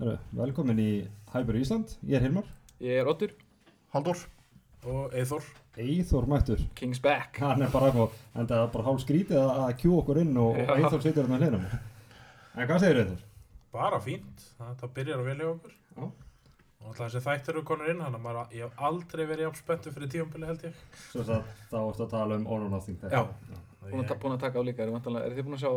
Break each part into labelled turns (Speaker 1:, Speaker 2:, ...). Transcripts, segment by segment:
Speaker 1: Herru, velkomin í Hæbur Ísland, ég er Hilmar
Speaker 2: Ég er Oddur,
Speaker 3: Haldur
Speaker 4: og Eithor
Speaker 1: Eithor mættur,
Speaker 2: King's Back
Speaker 1: hann er bara eitthvað en það er bara hálf skrítið að að kjú okkur inn og, og
Speaker 2: Já.
Speaker 1: Eithor situr hérna hann að hliðnum En hvað segir Eithor?
Speaker 4: bara fínt, það, það byrjar að velja okkur
Speaker 1: Já.
Speaker 4: og alltaf þessi þættir eru konur inn þannig að maður, ég hef aldrei verið jafn spenntu fyrir tíumbili held ég
Speaker 1: Svo að þá ertu að tala um All or Nothing þegar.
Speaker 2: Búin að, ta- búin að taka á líka, er, væntanlega- er þið búin að sjá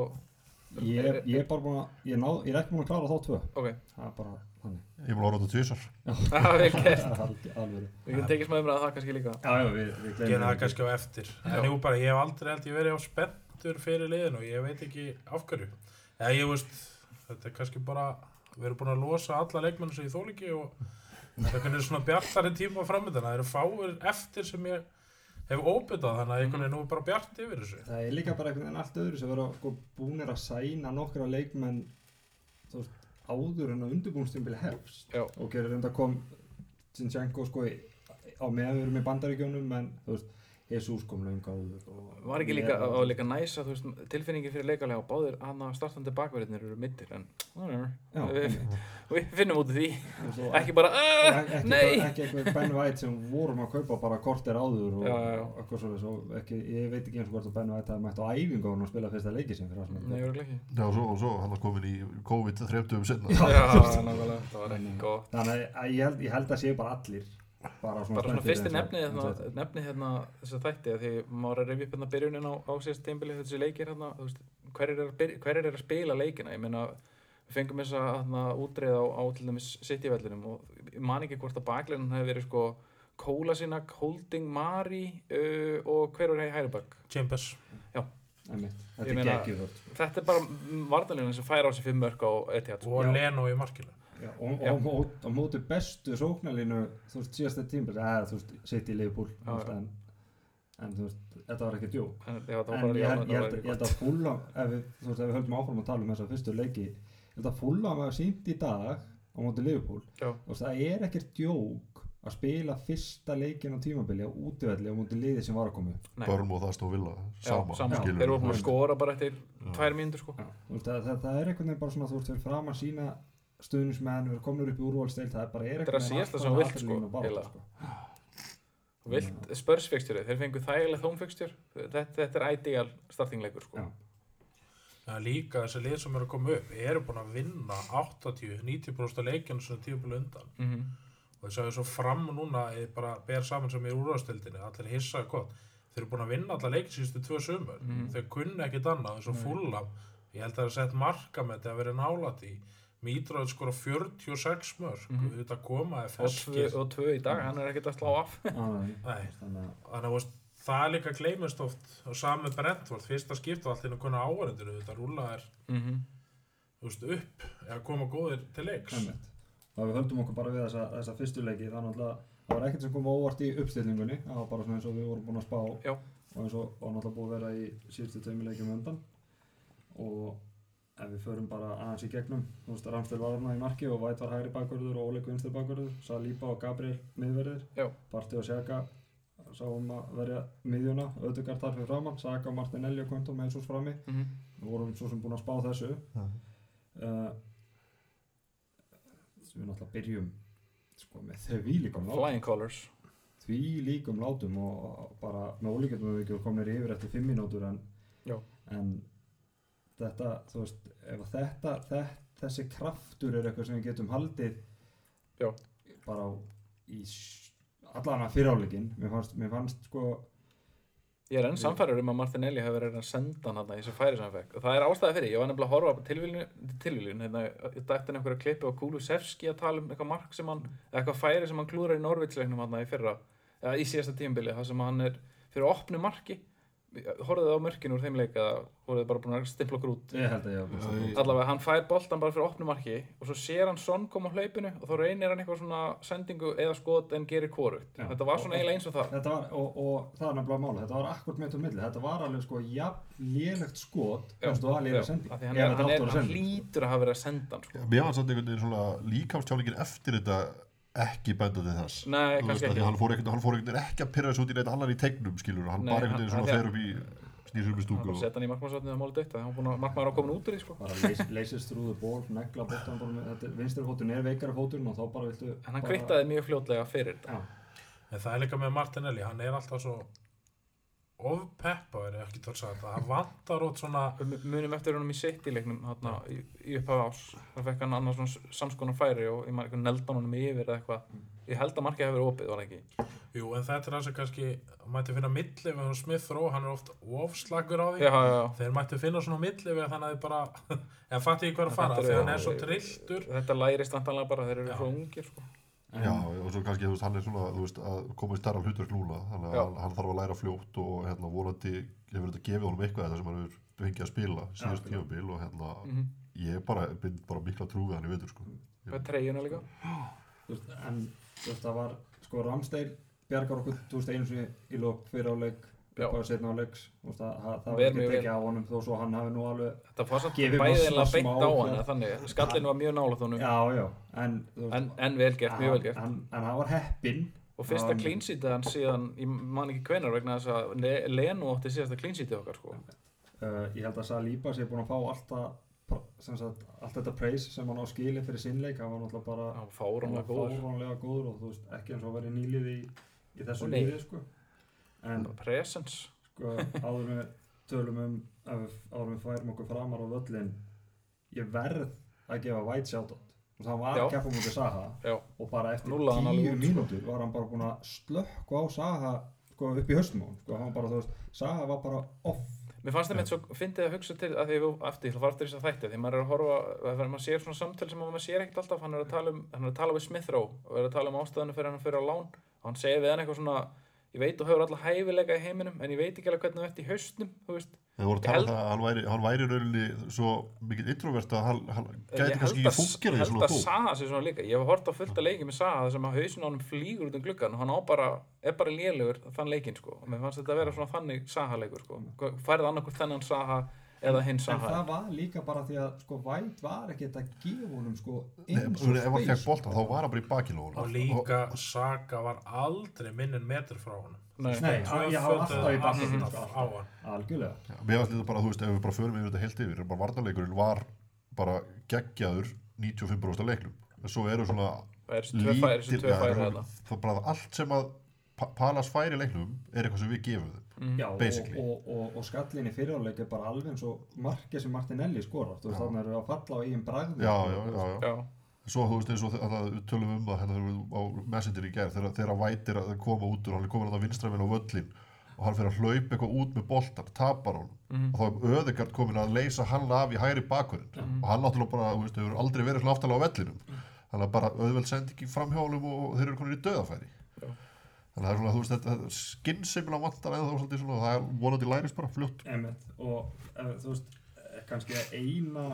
Speaker 1: Ég, er- ég er bara búin að, ég, ná, ég er ekki búin að klára þá tvö
Speaker 2: Ok,
Speaker 1: Það er bara þannig
Speaker 3: Ég er búin að orða þetta tvísar
Speaker 2: það er vel gert
Speaker 1: Það er alg- alvöru
Speaker 2: Við getum tekið smá umræða það kannski líka
Speaker 1: Já, já, við, við
Speaker 4: ég er
Speaker 1: gleymum
Speaker 4: það kannski á eftir en jú bara, ég hef aldrei held ég verið jafn spenntur fyrir liðin og ég veit ekki af hverju eða ég veist, þetta er kannski bara við erum búin að losa alla leikmennu sem ég þól ekki og það er svona bjartari tíma framöndan það eru fáir eftir sem ég hef óbytað þannig
Speaker 2: Mhm.
Speaker 4: að ég er nú bara bjart yfir þessu
Speaker 1: Það er líka bara einhvern veginn allt öðru sem vera sko, búnir að sæna nokkra leikmenn þú veist, áður en að undirbúinstjumbili hefst
Speaker 2: Já.
Speaker 1: og gerir reynda kom Sinchenko sko í- á meðurum í bandaríkjónum en þú veist, Jesus kom löng áður og
Speaker 2: Var ekki líka, og líka næs að þú veist, tilfinningin fyrir leikalega og báðir hann að startandi bakverðinir eru mittir en
Speaker 1: Já,
Speaker 2: við, við finnum út af því
Speaker 1: og svo-
Speaker 2: Ekki bara,
Speaker 1: Ek-
Speaker 2: "Ah,
Speaker 1: ekki,
Speaker 2: nei
Speaker 1: ekki eitthvað Ben White sem vorum að kaupa bara kortir áður og
Speaker 2: Já, já, já.
Speaker 1: eitthvað svoleiðis og ekki, ég veit ekki eins og hvort að Ben White hafi mætt á æfingu og spila fyrsta leiki sem fyrir
Speaker 2: Nei,
Speaker 1: Arsenal.
Speaker 2: ég ekki
Speaker 3: Já, svo, og svo hann er komin í COVID 30 um sinna
Speaker 2: Já, nákvæmlega, það var ekki gott
Speaker 1: þannig að ég held, ég held að séu bara allir bara svona,
Speaker 2: Bara svona
Speaker 1: spenntir
Speaker 2: fyrsti
Speaker 1: eins og-
Speaker 2: nefni
Speaker 1: eins og þetta.
Speaker 2: hérna, nefni hérna þess að þætti að því maður er að rifja upp hérna byrjunin á, á síðast tímbili þessi leikir hérna, þú veist, hverjir er, að byr- hverjir er að spila leikina, ég meina við fengum þess að hérna, útreið á, á til dæmis City-vellinum og ég man ekki hvort að baklinum hefur verið sko Kóla sinna, Holding, Mari uh, og hver var Hæribak
Speaker 4: Chambers
Speaker 1: Einmitt. Þetta
Speaker 2: Ég
Speaker 1: er
Speaker 2: meina-
Speaker 1: geggjur vörð
Speaker 2: Þetta er bara varnalíðan sem fær á sig fimm mörg á Etihad sko.
Speaker 4: og Leno í markinu
Speaker 1: Já, og,
Speaker 2: Já.
Speaker 1: og, og, og móti bestu sóknarlínu þú veist síðasta tímbil eða þú veist sitt í Liverpool
Speaker 2: Já,
Speaker 1: þú veist, en, en þú veist þetta var ekki djó
Speaker 2: en, já, það var
Speaker 1: en
Speaker 2: bara-
Speaker 1: ég
Speaker 2: já,
Speaker 1: held,
Speaker 2: þetta
Speaker 1: ég
Speaker 2: var
Speaker 1: held,
Speaker 2: ekki
Speaker 1: ég held að fulla ef við, þú veist ef við höldum áfram að tala um þessa fyrstu leiki ég held að fulla var sínt í dag á móti Liverpool
Speaker 2: Já.
Speaker 1: þú veist það er ekkert djók að spila fyrsta leikin á tímabili á útivelli á móti liði sem var að koma upp
Speaker 2: Nei.
Speaker 3: Börn og það stóð vilja
Speaker 2: Já,
Speaker 3: Sama,
Speaker 2: sama.
Speaker 3: skilur
Speaker 2: Þeir voru búin að
Speaker 3: við.
Speaker 2: skora bara eftir tvær mínútur sko.
Speaker 1: Já, þú veist, það, það, það er einhvern veginn bara svona þú veist fyrir fram að sína stuðnismenn við erum komin upp í úrvalstil það er bara er
Speaker 2: Þetta er að
Speaker 1: einhvern
Speaker 2: síðasta
Speaker 1: alltaf
Speaker 2: sem þú vilt,
Speaker 1: adrenalín
Speaker 2: sko,
Speaker 1: og barátta,
Speaker 2: eiginlega. Vilt spörsfekstjörið, þeir fengu þægileg þómfekstjör, þetta, þetta er ideal startingleikur sko.
Speaker 1: Já.
Speaker 4: Það er líka þessi lið sem eru að koma upp eru búin að vinna 80-90% leikinu sem tíu búin undan
Speaker 2: Mm
Speaker 4: og þess að svo fram núna ég bara ber saman sem er úrvastildinni allir hissaði gott þeir eru búin að vinna alla leikin síðustu tvö sömur
Speaker 2: Mhm.
Speaker 4: þeir kunna ekkit annað þess að fulla ég held að það er sett marka með þetta að vera nálat í Mítraður skora 46 mörg mm
Speaker 2: Mhm.
Speaker 4: -hmm. þetta koma er
Speaker 2: og, tvö,
Speaker 4: feskir
Speaker 2: og tvö í dag, hann er ekkert að slá af.
Speaker 1: Já,
Speaker 4: Nei,
Speaker 1: þannig að
Speaker 4: þannig að veist, það er líka gleymist oft og sami Brentford, fyrsta skipta allt inn að kunna áverendinu, þetta rúla er
Speaker 2: Mm
Speaker 4: þú veist, upp eða koma góðir til leiks
Speaker 1: Einmitt. Og ef við höldum okkur bara við þessa, þessa fyrstu leiki þannig að það var ekkert sem kom á óvart í uppstillingunni það var bara svona eins og við vorum búin að spá
Speaker 2: Já.
Speaker 1: og eins og var náttúrulega búið að vera í síðustu tveimur leikjum á undan og ef við förum bara aðeins í gegnum þú veist, Ramstil var þarna í marki og Væt var hægri bakvörður og Óleik vinstir bakvörður Salíba og Gabriel
Speaker 2: Já.
Speaker 1: miðverðir Barti og Sjaka sáum að verja miðjuna Ödugard þar fyrir framann Saka, Martinelli og Kvöntum með Jesus frammi
Speaker 2: -hmm.
Speaker 1: við vorum svo sem búin að spá þessu
Speaker 3: Já.
Speaker 1: uh, við náttúrulega byrjum sko, með því líkum látum
Speaker 2: Flying colours.
Speaker 1: því líkum látum og og bara með ólíkjöndum við ekki komin yfir eftir fimm mínútur en,
Speaker 2: Já.
Speaker 1: en þetta, þú veist ef að þetta, þett, þessi kraftur er eitthvað sem við getum haldið
Speaker 2: Já.
Speaker 1: bara á- í allan að fyriráleikin mér fannst, mér fannst sko
Speaker 2: Ég er enn samfæður um að Martinelli hefur verið að senda hann þarna í þessu færi sem hann fekk. Og það er ástæði fyrir, ég var nefnilega að horfa á tilvílun, tilvílun hérna, ég dætti einhverja klippi á Kulusevski að tala um eitthvað mark sem hann, eða eitthvað færi sem hann klúrar í Norvitsleiknum hann í fyrra, eða í síðasta tímbili, það sem hann er fyrir opnu marki. Horfðu þið á mörkin úr þeim leik eða voruð þið bara búin að stimpla okkur út?
Speaker 1: ég held að ég var
Speaker 3: Já, ég-
Speaker 2: Allavega, hann fær boltan bara fyrir opnu marki og svo sér hann Son koma á hlaupinu og þá reynir hann eitthvað svona sendingu eða skot en gerir korugt.
Speaker 1: Já.
Speaker 2: Þetta var svona eiginlega eins og það.
Speaker 1: Þetta var, og, og það er nefnilega mála, þetta var akkurat mitt á milli, þetta var alveg sko jafn lélegt skot,
Speaker 2: Já,
Speaker 1: kannski þú að
Speaker 2: já,
Speaker 1: lélega sendi,
Speaker 2: af því hann, er, hann, er, hann
Speaker 1: sendi.
Speaker 2: hlýtur að hafa verið að senda hann sko.
Speaker 3: Já, Mér var samt einhvern veginn svona líkamstjálingin eftir þetta ekki benda til þess
Speaker 2: Nei,
Speaker 3: Þú
Speaker 2: kannski
Speaker 3: að því
Speaker 2: ekki.
Speaker 3: Hann fór einhvern hann fór einhvern veginn ekki að pyrra þessu út í neitt annar í tegnum skilur Hann
Speaker 2: Nei,
Speaker 3: bara einhvern
Speaker 2: hann-
Speaker 3: veginn svona
Speaker 2: hann-
Speaker 3: fer upp í snýr sér upp í
Speaker 2: hann
Speaker 3: stúku
Speaker 2: bara
Speaker 3: og
Speaker 2: setja hann í markmannsvarnið og málið deitt hann búin að markmann á komin út úr því sko
Speaker 1: bara leys, leysir strúðu ból, negla boltan bara með, þetta vinstri hótun er veikari hótun og þá bara viltu
Speaker 2: en hann
Speaker 1: bara-
Speaker 2: kvittaði mjög fljótlega fyrir þetta
Speaker 1: Já,
Speaker 4: En það er líka með Martinelli, hann er alltaf svo ofpeppaður, ef ekki tótt sagt það, hann vantar út svona
Speaker 2: M- munum eftir húnum í sitt í leiknum hátna, í, í upphafi ás það fekk hann annars svona samskonar færi og ég maður neldan honum yfir eða eitthvað ég held að markið hefur verið opið var það ekki
Speaker 4: Jú, en þetta er það sem kannski mætti finna milli við hann Smith Rowe, hann er oft ofslagur á því
Speaker 2: já, já, já.
Speaker 4: Þeir mættu finna svona milli við þannig að þið bara eða fatti ég hvað er að fara,
Speaker 2: Þetta er-
Speaker 4: því hann er svo trilltur
Speaker 2: þetta lærist andanlega bara þeir eru
Speaker 4: Já.
Speaker 2: svo ungir sko.
Speaker 1: en,
Speaker 3: Já, og svo kannski, þú veist, hann er svona, þú veist, að koma í starra hlutverk núna, þannig að
Speaker 2: Já.
Speaker 3: hann, hann þarf að læra fljótt og hérna, vonandi hefur þetta gefið honum eitthvað þetta sem hann hefur fengið að spila síðust
Speaker 1: Já,
Speaker 3: tímabil og hérna,
Speaker 2: Mhm.
Speaker 3: ég bara, bind bara mikla trú við hann í veitur, sko.
Speaker 2: það er treyjuna líka
Speaker 1: þú veist, en þú veist, það var sko Ramstein bjargar okkur, þú veist, einu sinni í lók fyrir á leik,
Speaker 2: Já.
Speaker 1: uppáðu setna á leiks þú veist, það, það- það var
Speaker 2: Vel
Speaker 1: ekki
Speaker 2: mjög vel.
Speaker 1: tekið á honum þó svo hann hafi nú alveg
Speaker 2: þetta var samt
Speaker 1: Gefið
Speaker 2: bæðið
Speaker 1: Massa
Speaker 2: eiginlega beint
Speaker 1: smá
Speaker 2: á
Speaker 1: hjálp.
Speaker 2: hann eða þannig skallin var mjög nála þónum
Speaker 1: já, já, en þú
Speaker 2: en, en vel gert, mjög vel
Speaker 1: hann-
Speaker 2: gert
Speaker 1: hann, en hann var heppinn
Speaker 2: og fyrsta
Speaker 1: hann-
Speaker 2: clean sheetið hann síðan ég man ekki hvenar vegna þess að Le- Lenu átti síðasta clean sheetið okkar sko.
Speaker 1: uh, ég held að Saliba sé búin að fá alltaf sem sagt, allt þetta praise sem hann á skili fyrir sinnleik, hann var náttúrulega bara
Speaker 2: hann var
Speaker 1: hann var
Speaker 2: fáránlega góður
Speaker 1: fáránlega góður og þú veist, ekki eins og verið nýlið í, í þessu
Speaker 2: Og nei.
Speaker 1: nýlið sko. en
Speaker 2: Bara presence
Speaker 1: sko, áður með tölum um ef við- áður með færum okkur framar á völlin ég verð að gefa White shoutout og það var
Speaker 2: Já.
Speaker 1: að keppa mútið Saha
Speaker 2: Já.
Speaker 1: og bara eftir
Speaker 2: Núllaði hann alveg
Speaker 1: 10
Speaker 2: út, sko.
Speaker 1: mínútur var hann bara búin að slökku á Saha sko, upp í höstum á honum, sko, hann var bara, þú veist, Saha var bara off
Speaker 2: Mér fannst það mitt svo fyndið að hugsa til að því við eftir, ég ætla að fara eftir þess að þætti því maður er að horfa, þegar maður sér svona samtöl sem maður sér ekkert alltaf, hann er að tala um hann er að tala við Smith Rowe og er að tala um ástæðanum fyrir hann fyrir á lán og hann segir við hann eitthvað svona ég veit þú hefur alltaf hæfilega í heiminum en ég veit ekki alveg hvernig þú ert í haustnum þú veist,
Speaker 3: Þeir voru að
Speaker 2: Ég
Speaker 3: tala
Speaker 2: held-
Speaker 3: um það að hann væri, hann væri í rauninni svo mikið introvert að hann, hann gæti
Speaker 2: Ég held
Speaker 3: kannski ekki
Speaker 2: að- ég
Speaker 3: fungera því
Speaker 2: held
Speaker 3: svona
Speaker 2: að
Speaker 3: þú.
Speaker 2: Saha sé svona líka, ég hef hort á fullt að leiki með Saha þar sem að hausin á honum flýgur út um gluggan og hann á bara, er bara lélugur þann leikin sko, og mér fannst þetta að vera svona þannig Saha leikur sko, færið annarkur þennan Saha eða hinn
Speaker 1: en
Speaker 2: Saha
Speaker 1: það var líka bara því að sko, White var ekkert að gefa honum sko,
Speaker 3: Nei,
Speaker 1: eins
Speaker 3: ef hann fekk
Speaker 1: space.
Speaker 3: boltan, þá var hann bara í bakilóðun.
Speaker 4: og líka Saka var aldrei minn en metr frá honum
Speaker 2: Nei.
Speaker 1: Nei, hann- ég hafa
Speaker 4: Tvöfölduðu
Speaker 1: alltaf í bakinu
Speaker 4: alltaf Mm-hmm. á
Speaker 1: sko,
Speaker 4: hann
Speaker 1: algjörlega
Speaker 3: Já, Mér finnst þetta bara, þú veist, ef við bara förum yfir þetta heilt yfir, bara varnarleikurinn var bara geggjaður 95% af leiknum. En svo eru svona
Speaker 2: Það eru þessi tvö færi, þessi
Speaker 3: lítir,
Speaker 2: tvö færi
Speaker 3: það,
Speaker 2: þarna.
Speaker 3: það bara allt sem að Pa- Palas færi í leiknum er eitthvað sem við gefum þeim.
Speaker 1: Já, og,
Speaker 3: Basically.
Speaker 1: og, og, og skallinni fyrirháleik er bara alveg eins og markið sem Martinelli skorar þú veist
Speaker 3: Já.
Speaker 1: þannig að það eru að falla á eigin sko. bragði
Speaker 3: Já, já, já, já.
Speaker 2: Já,
Speaker 3: Svo þú veist eins og það við tölum um það hérna þegar við á Messenger í gær þegar, þegar vætir að koma út úr, hann er komin að það vinstramil á völlin og hann fyrir að hlaupa eitthvað út með boltan, tapar honum og þá er öðegard komin að leysa hann af í hægri bakurinn og hann náttúrulega bara, þú veist, hefur aldrei verið svona aftalega á vellinum þannig að bara auðveld sendi ekki framhjólum og, og þeir eru komin í döðafæri
Speaker 2: Já.
Speaker 3: þannig að það er svona, þú veist, þetta skinnseimil á vantar eða þá svolítið svona, það er vonandi læris bara fljótt
Speaker 1: Einmitt, og e, þú veist eh, kannski að eina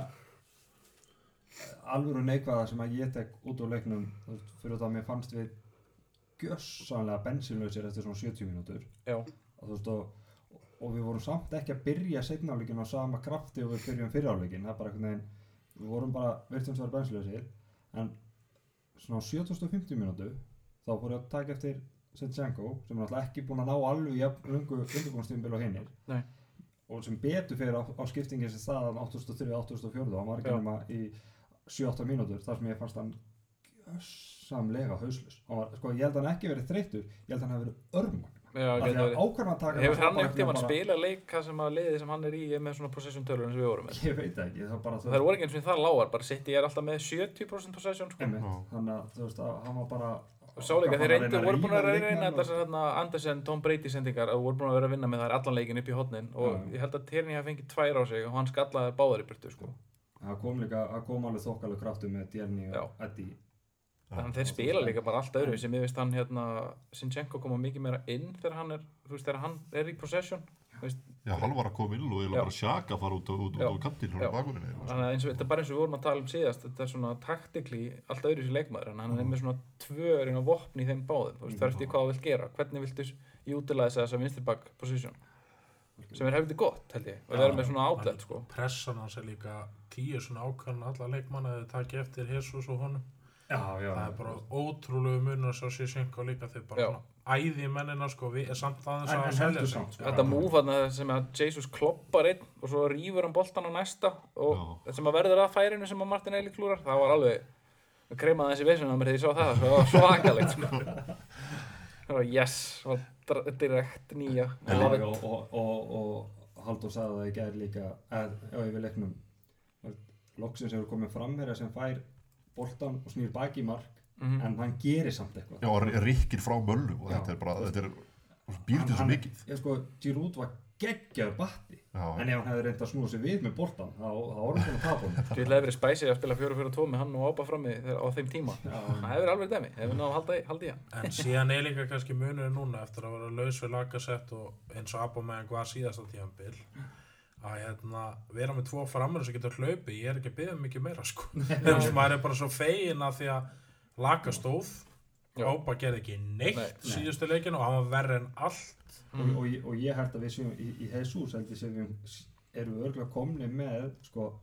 Speaker 1: eh, alvöru neikvæða sem að ég tek út úr leiknum þú veist, fyrir það að mér fannst við gjössanlega bensinlausir eftir svona 70 mínútur
Speaker 2: já,
Speaker 1: og, þú veist, og, og við vorum samt ekki að byrja segnáleikin á sama krafti og við byrjum fyriráleikin það er bara einhvern veginn, við vorum bara virtum svar bensinlausir en svona á 750 mínútu þá fór ég að taka eftir Sinchenko sem er alltaf ekki búin að ná alveg jafn lungu undirbúinstímbil og hinnir
Speaker 2: Nei.
Speaker 1: og sem betur fyrir á, á skiptingin sem staðan 83-84 og hann var ekki
Speaker 2: Já.
Speaker 1: nema í 7-8 mínútur þar sem ég fannst hann samlega hauslus var, sko, ég held hann ekki verið þreyttur ég held hann hafi verið örmagn
Speaker 2: já,
Speaker 1: Af því að
Speaker 2: geta verið.
Speaker 1: ákvarðan að taka
Speaker 2: Hefur
Speaker 1: það
Speaker 2: hann
Speaker 1: bara
Speaker 2: ekkert tímann
Speaker 1: bara-
Speaker 2: spila leika sem að liði sem hann er í er með svona possession tölun sem við vorum með?
Speaker 1: Ég veit það ekki, það bara þú
Speaker 2: Það
Speaker 1: veist,
Speaker 2: voru ekki eins og það lágar, bara sitt ég er alltaf með 70% possession sko.
Speaker 1: einmitt, þannig að þú veist að hann var bara
Speaker 2: Og sáleika
Speaker 1: hann
Speaker 2: þeir
Speaker 1: var
Speaker 2: reyndu,
Speaker 1: að
Speaker 2: voru búin að
Speaker 1: rífa
Speaker 2: reyna
Speaker 1: leikmenn
Speaker 2: reyna
Speaker 1: og-
Speaker 2: þessar hérna Andersen, Tom Brady sendingar og voru búin að vera að vinna með þær allan leikin upp í hotnin og
Speaker 1: Já.
Speaker 2: ég held að Tierney hafi fengið tvær á sig og hann skallaði þær báðar í burtu sko.
Speaker 1: Það kom líka, það kom alveg þokkalega kraftu með Djerni
Speaker 2: Já.
Speaker 1: og Eddi
Speaker 2: Þannig að þeir spila líka bara allt öðru sem ég veist hann hérna, Sinchenko koma mikið meira inn þegar hann er, þú veist, þegar hann er í possession þú veist,
Speaker 3: Já, hann var að koma inn og
Speaker 2: Já.
Speaker 3: eiginlega bara sjaka að fara út, á- út, út,
Speaker 2: Já.
Speaker 3: út á kantinn
Speaker 2: Já.
Speaker 3: frá bakurinn eiginlega.
Speaker 2: Þannig að eins og, þetta er bara eins og við vorum að tala um síðast, þetta er svona taktikli allt öðru sér leikmaður, en hann
Speaker 4: Mhm.
Speaker 2: er með svona tvörinn og vopn í þeim báðum, þú veist, það er eftir hvað þú vilt gera, hvernig viltu utilize þessa vinstri back position, sem er hefðið gott, held ég, og
Speaker 4: Já,
Speaker 2: vera með svona
Speaker 4: hann-
Speaker 2: outlet, sko.
Speaker 4: pressan hans er líka tíu svona ákvæðan alla leikmann að þið taki eftir Jesus og honum
Speaker 1: Já, já.
Speaker 4: það er bara ótrúlegu munur að sjá sér syngu líka þau bara
Speaker 2: Já.
Speaker 4: svona æði mennina sko, við er samt aðeins
Speaker 1: En-
Speaker 4: að
Speaker 1: en heldur
Speaker 4: selja
Speaker 1: samt, sko.
Speaker 4: sig
Speaker 2: Þetta múf þarna sem að Jesus kloppar einn og svo rýfur hann boltan á næsta og sem að verður að færinu sem að Martin Eli klúrar það var alveg kremaði þessi veisun á mér þegar ég sá það það var svakalegt sko. það var yes það var dra- direkt nýja
Speaker 1: Já,
Speaker 2: Ég love it.
Speaker 1: og, og, og, og Haldur sagði það í gær líka að, já, yfir leiknum þú veist, loksins hefur komið fram meira sem fær boltan og snýr baki í mark
Speaker 2: Mhm.
Speaker 1: en hann gerir samt eitthvað
Speaker 3: Já, og rikkir frá möllu og
Speaker 1: Já.
Speaker 3: þetta er bara, þetta er býr til
Speaker 1: Hann-
Speaker 3: svo
Speaker 1: hann-
Speaker 3: mikið
Speaker 1: ég sko, Giroud var geggjaður batti
Speaker 3: Já,
Speaker 1: en ef hann hefði reyndað að snúa sér við með boltan þá þá var hann búinn að tapa honum
Speaker 2: Ég vil hefur spæsið að spila 4-4-2 með hann og ápa frammi þegar- á þeim tíma það hefur alveg dæmi hefur náðu að halda í, halda í hann
Speaker 4: en síðan er líka kannski munurinn núna eftir að vera laus við lagasett og eins og abba meðan hvað síðasta tíðanbil að hérna, vera með tvo framur sem getur hlaupið, ég er ekki að byggja mikið meira sko, þess að maður er bara svo fegin að því að laga stóð
Speaker 2: Já.
Speaker 4: Ába gerði ekki
Speaker 2: Nei.
Speaker 4: neitt síðustu leikinu og hann var verri en allt
Speaker 2: Mm.
Speaker 1: og, og, ég- og ég held að við séum í, í Jesus held ég sem við erum við örgulega komni með sko,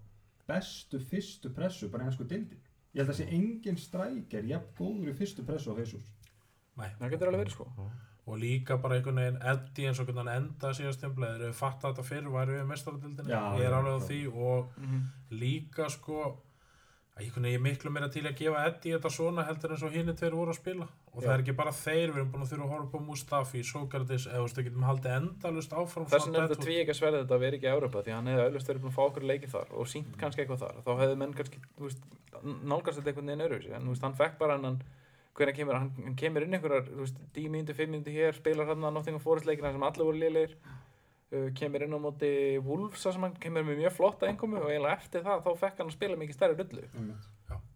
Speaker 1: bestu fyrstu pressu bara enn sko dildi ég held að sé engin strækjar jafn góður í fyrstu pressu á Jesus
Speaker 4: Nei.
Speaker 2: það getur alveg verið sko
Speaker 4: og líka bara einhvern veginn eddi eins og hvernig hann enda síðast tímplega þegar við fatta þetta fyrir væri við mestaradildinu
Speaker 1: Já,
Speaker 4: ég er
Speaker 1: já,
Speaker 4: alveg á
Speaker 1: já.
Speaker 4: því og
Speaker 2: Mhm.
Speaker 4: líka sko að einhvern veginn ég er miklu meira til að gefa eddi þetta svona heldur eins og hinni tveir voru að spila og
Speaker 1: Já.
Speaker 4: það er ekki bara þeir, við erum búin að þurfa að horfa upp á Mustafi, Sokratis, eða þú veist, við getum haldið endalust áfram
Speaker 2: þess vegna er
Speaker 4: deadwood.
Speaker 2: þetta tví ekki að sverða þetta að vera ekki í Európa því hann hefði auðvitað verið búin að fá okkur leikið þar og sínt kannski eitthvað þar þá hefði menn kannski, þú veist, n- nálgast þetta einhvern veginn öðruvísi en þú veist, hann fekk bara hann hvernig kemur, hann, hann kemur inn einhverjar þú veist, 10 mínúti, 5 mínúti hér, spilar hann að Nottingham Forest leikina sem allir voru lélegir uh, kemur inn á móti Wolves þar sem hann kemur með mjög flotta einkomi og eiginlega eftir það þá fekk hann að spila mikið stærri rullu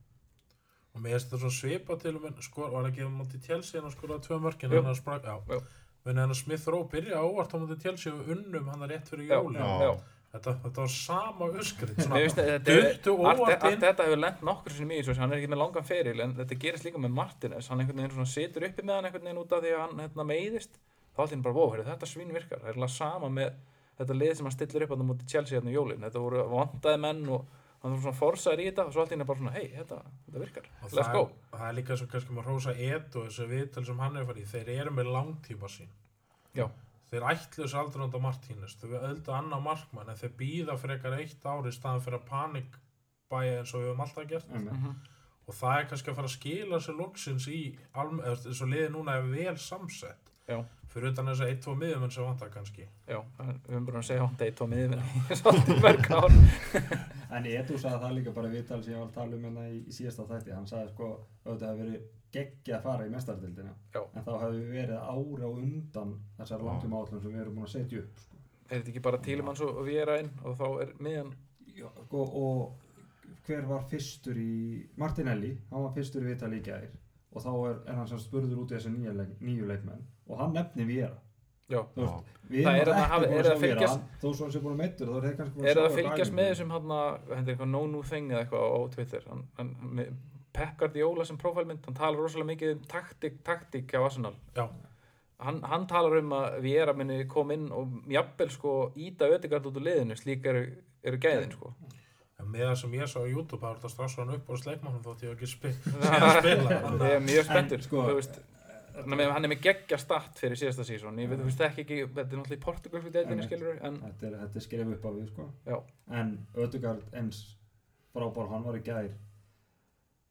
Speaker 4: og mér finnst þetta svona svipa til og með skor, var ekki að móti Chelsea en að skora tvö mörkin
Speaker 2: Jú.
Speaker 4: en að sprak, já,
Speaker 2: Jú.
Speaker 4: en að Smith Rowe byrja ávart á móti Chelsea og unnum hann rétt fyrir
Speaker 2: Já,
Speaker 4: jóli
Speaker 3: Já.
Speaker 2: já.
Speaker 4: Þetta, þetta var sama öskrið
Speaker 2: Mér
Speaker 4: svona,
Speaker 2: finnst að þetta er-
Speaker 4: Duttu
Speaker 2: allt
Speaker 4: óvart
Speaker 2: allt
Speaker 4: inn
Speaker 2: þetta hefur lent nokkur sinni mjög hann er ekki með langan feril en þetta gerist líka með Martínez hann einhvern veginn svona situr uppi með hann einhvern veginn út af því að hann hérna, meiðist þá allir bara vóhverju þetta svín virkar það er alveg sama með þetta lið sem hann stillir upp hann mútið Chelsea hérna í jólin þetta voru vandaði menn og hann var svona forsaður í þetta og svo allir bara svona hei þetta, þetta virkar
Speaker 4: Og
Speaker 2: let's
Speaker 4: það-
Speaker 2: go
Speaker 4: Það er líka svo kannski maður hrósa Ed og þessu viðtal sem hann hefur farið í. Þeir eru með langtíma sín
Speaker 2: Já.
Speaker 4: Þeir ætlu þessu aldrei undan Martínez Þau við öldu annað markmann en þeir býða frekar eitt ári í staðan fyrir að panikbæja eins og við höfum alltaf gert
Speaker 2: Mhm.
Speaker 4: og það er kannski að fara að skila sér loksins í alm- eða þessu liði núna er vel samsett
Speaker 2: Já.
Speaker 4: fyrir utan þessu 1-2 miðjumenn sem vantar kannski
Speaker 2: já, en við höfum bara að segja hann degi tómið yfir svolítið mörg ár
Speaker 1: en Edu sagði það líka bara viðtal sem ég var að tala um hérna í, í síðasta þætti hann sagði sko auðvitað hefði verið geggja að fara í mestardildina
Speaker 2: Já.
Speaker 1: en þá hefði við verið ára á undan þessar langtum átlum sem við erum búin að setja upp sko.
Speaker 2: er þetta ekki bara Tílimanns og Viera inn og þá er miðan
Speaker 1: Já, sko, og hver var fyrstur í Martinelli, hann var fyrstur í viðtali í gær og þá er, er hann sem spurður út í þessu nýju, leik, nýju leikmenn og hann nefnir Viera
Speaker 2: já
Speaker 1: Þú veist, við
Speaker 2: Það er
Speaker 1: erum
Speaker 2: að
Speaker 1: ekki
Speaker 2: hafa-
Speaker 1: búin
Speaker 2: er
Speaker 1: að
Speaker 2: að
Speaker 1: sjá Viera
Speaker 2: fylgjast-
Speaker 1: hann- þó svo hann sé búin að meittur þá er það kannski búin að
Speaker 2: Er það
Speaker 1: sjá
Speaker 2: að
Speaker 1: á
Speaker 2: fylgjast
Speaker 1: æfingu.
Speaker 2: með þessum hérna, þetta er eitthvað no new thing eða eitthvað á Twitter hann, hann, með Pep Guardiola sem profilmynd, hann talar rosalega mikið um taktik, taktik hjá Arsenal
Speaker 4: Já,
Speaker 2: hann, hann talar um að Viera minni kom inn og jafnvel sko íta ödegard út úr liðinu, slík eru, eru gæðin sko
Speaker 4: en með það sem ég sá á YouTube það var þetta strax hann upp á sleikmannum þótt ég hef ekki spil, spila
Speaker 2: það er mjög spenntur
Speaker 1: En, sko,
Speaker 2: þú veist Þannig að hann er með geggja start fyrir síðasta sísón ég veit, þú veist ekki, ekki, þetta er náttúrulega í Portugal fyrir deildinni
Speaker 1: Einmitt.
Speaker 2: skilur, en
Speaker 1: þetta er, þetta er skref upp á við sko.
Speaker 2: já,
Speaker 1: en Ödugard eins frábár hann var í gær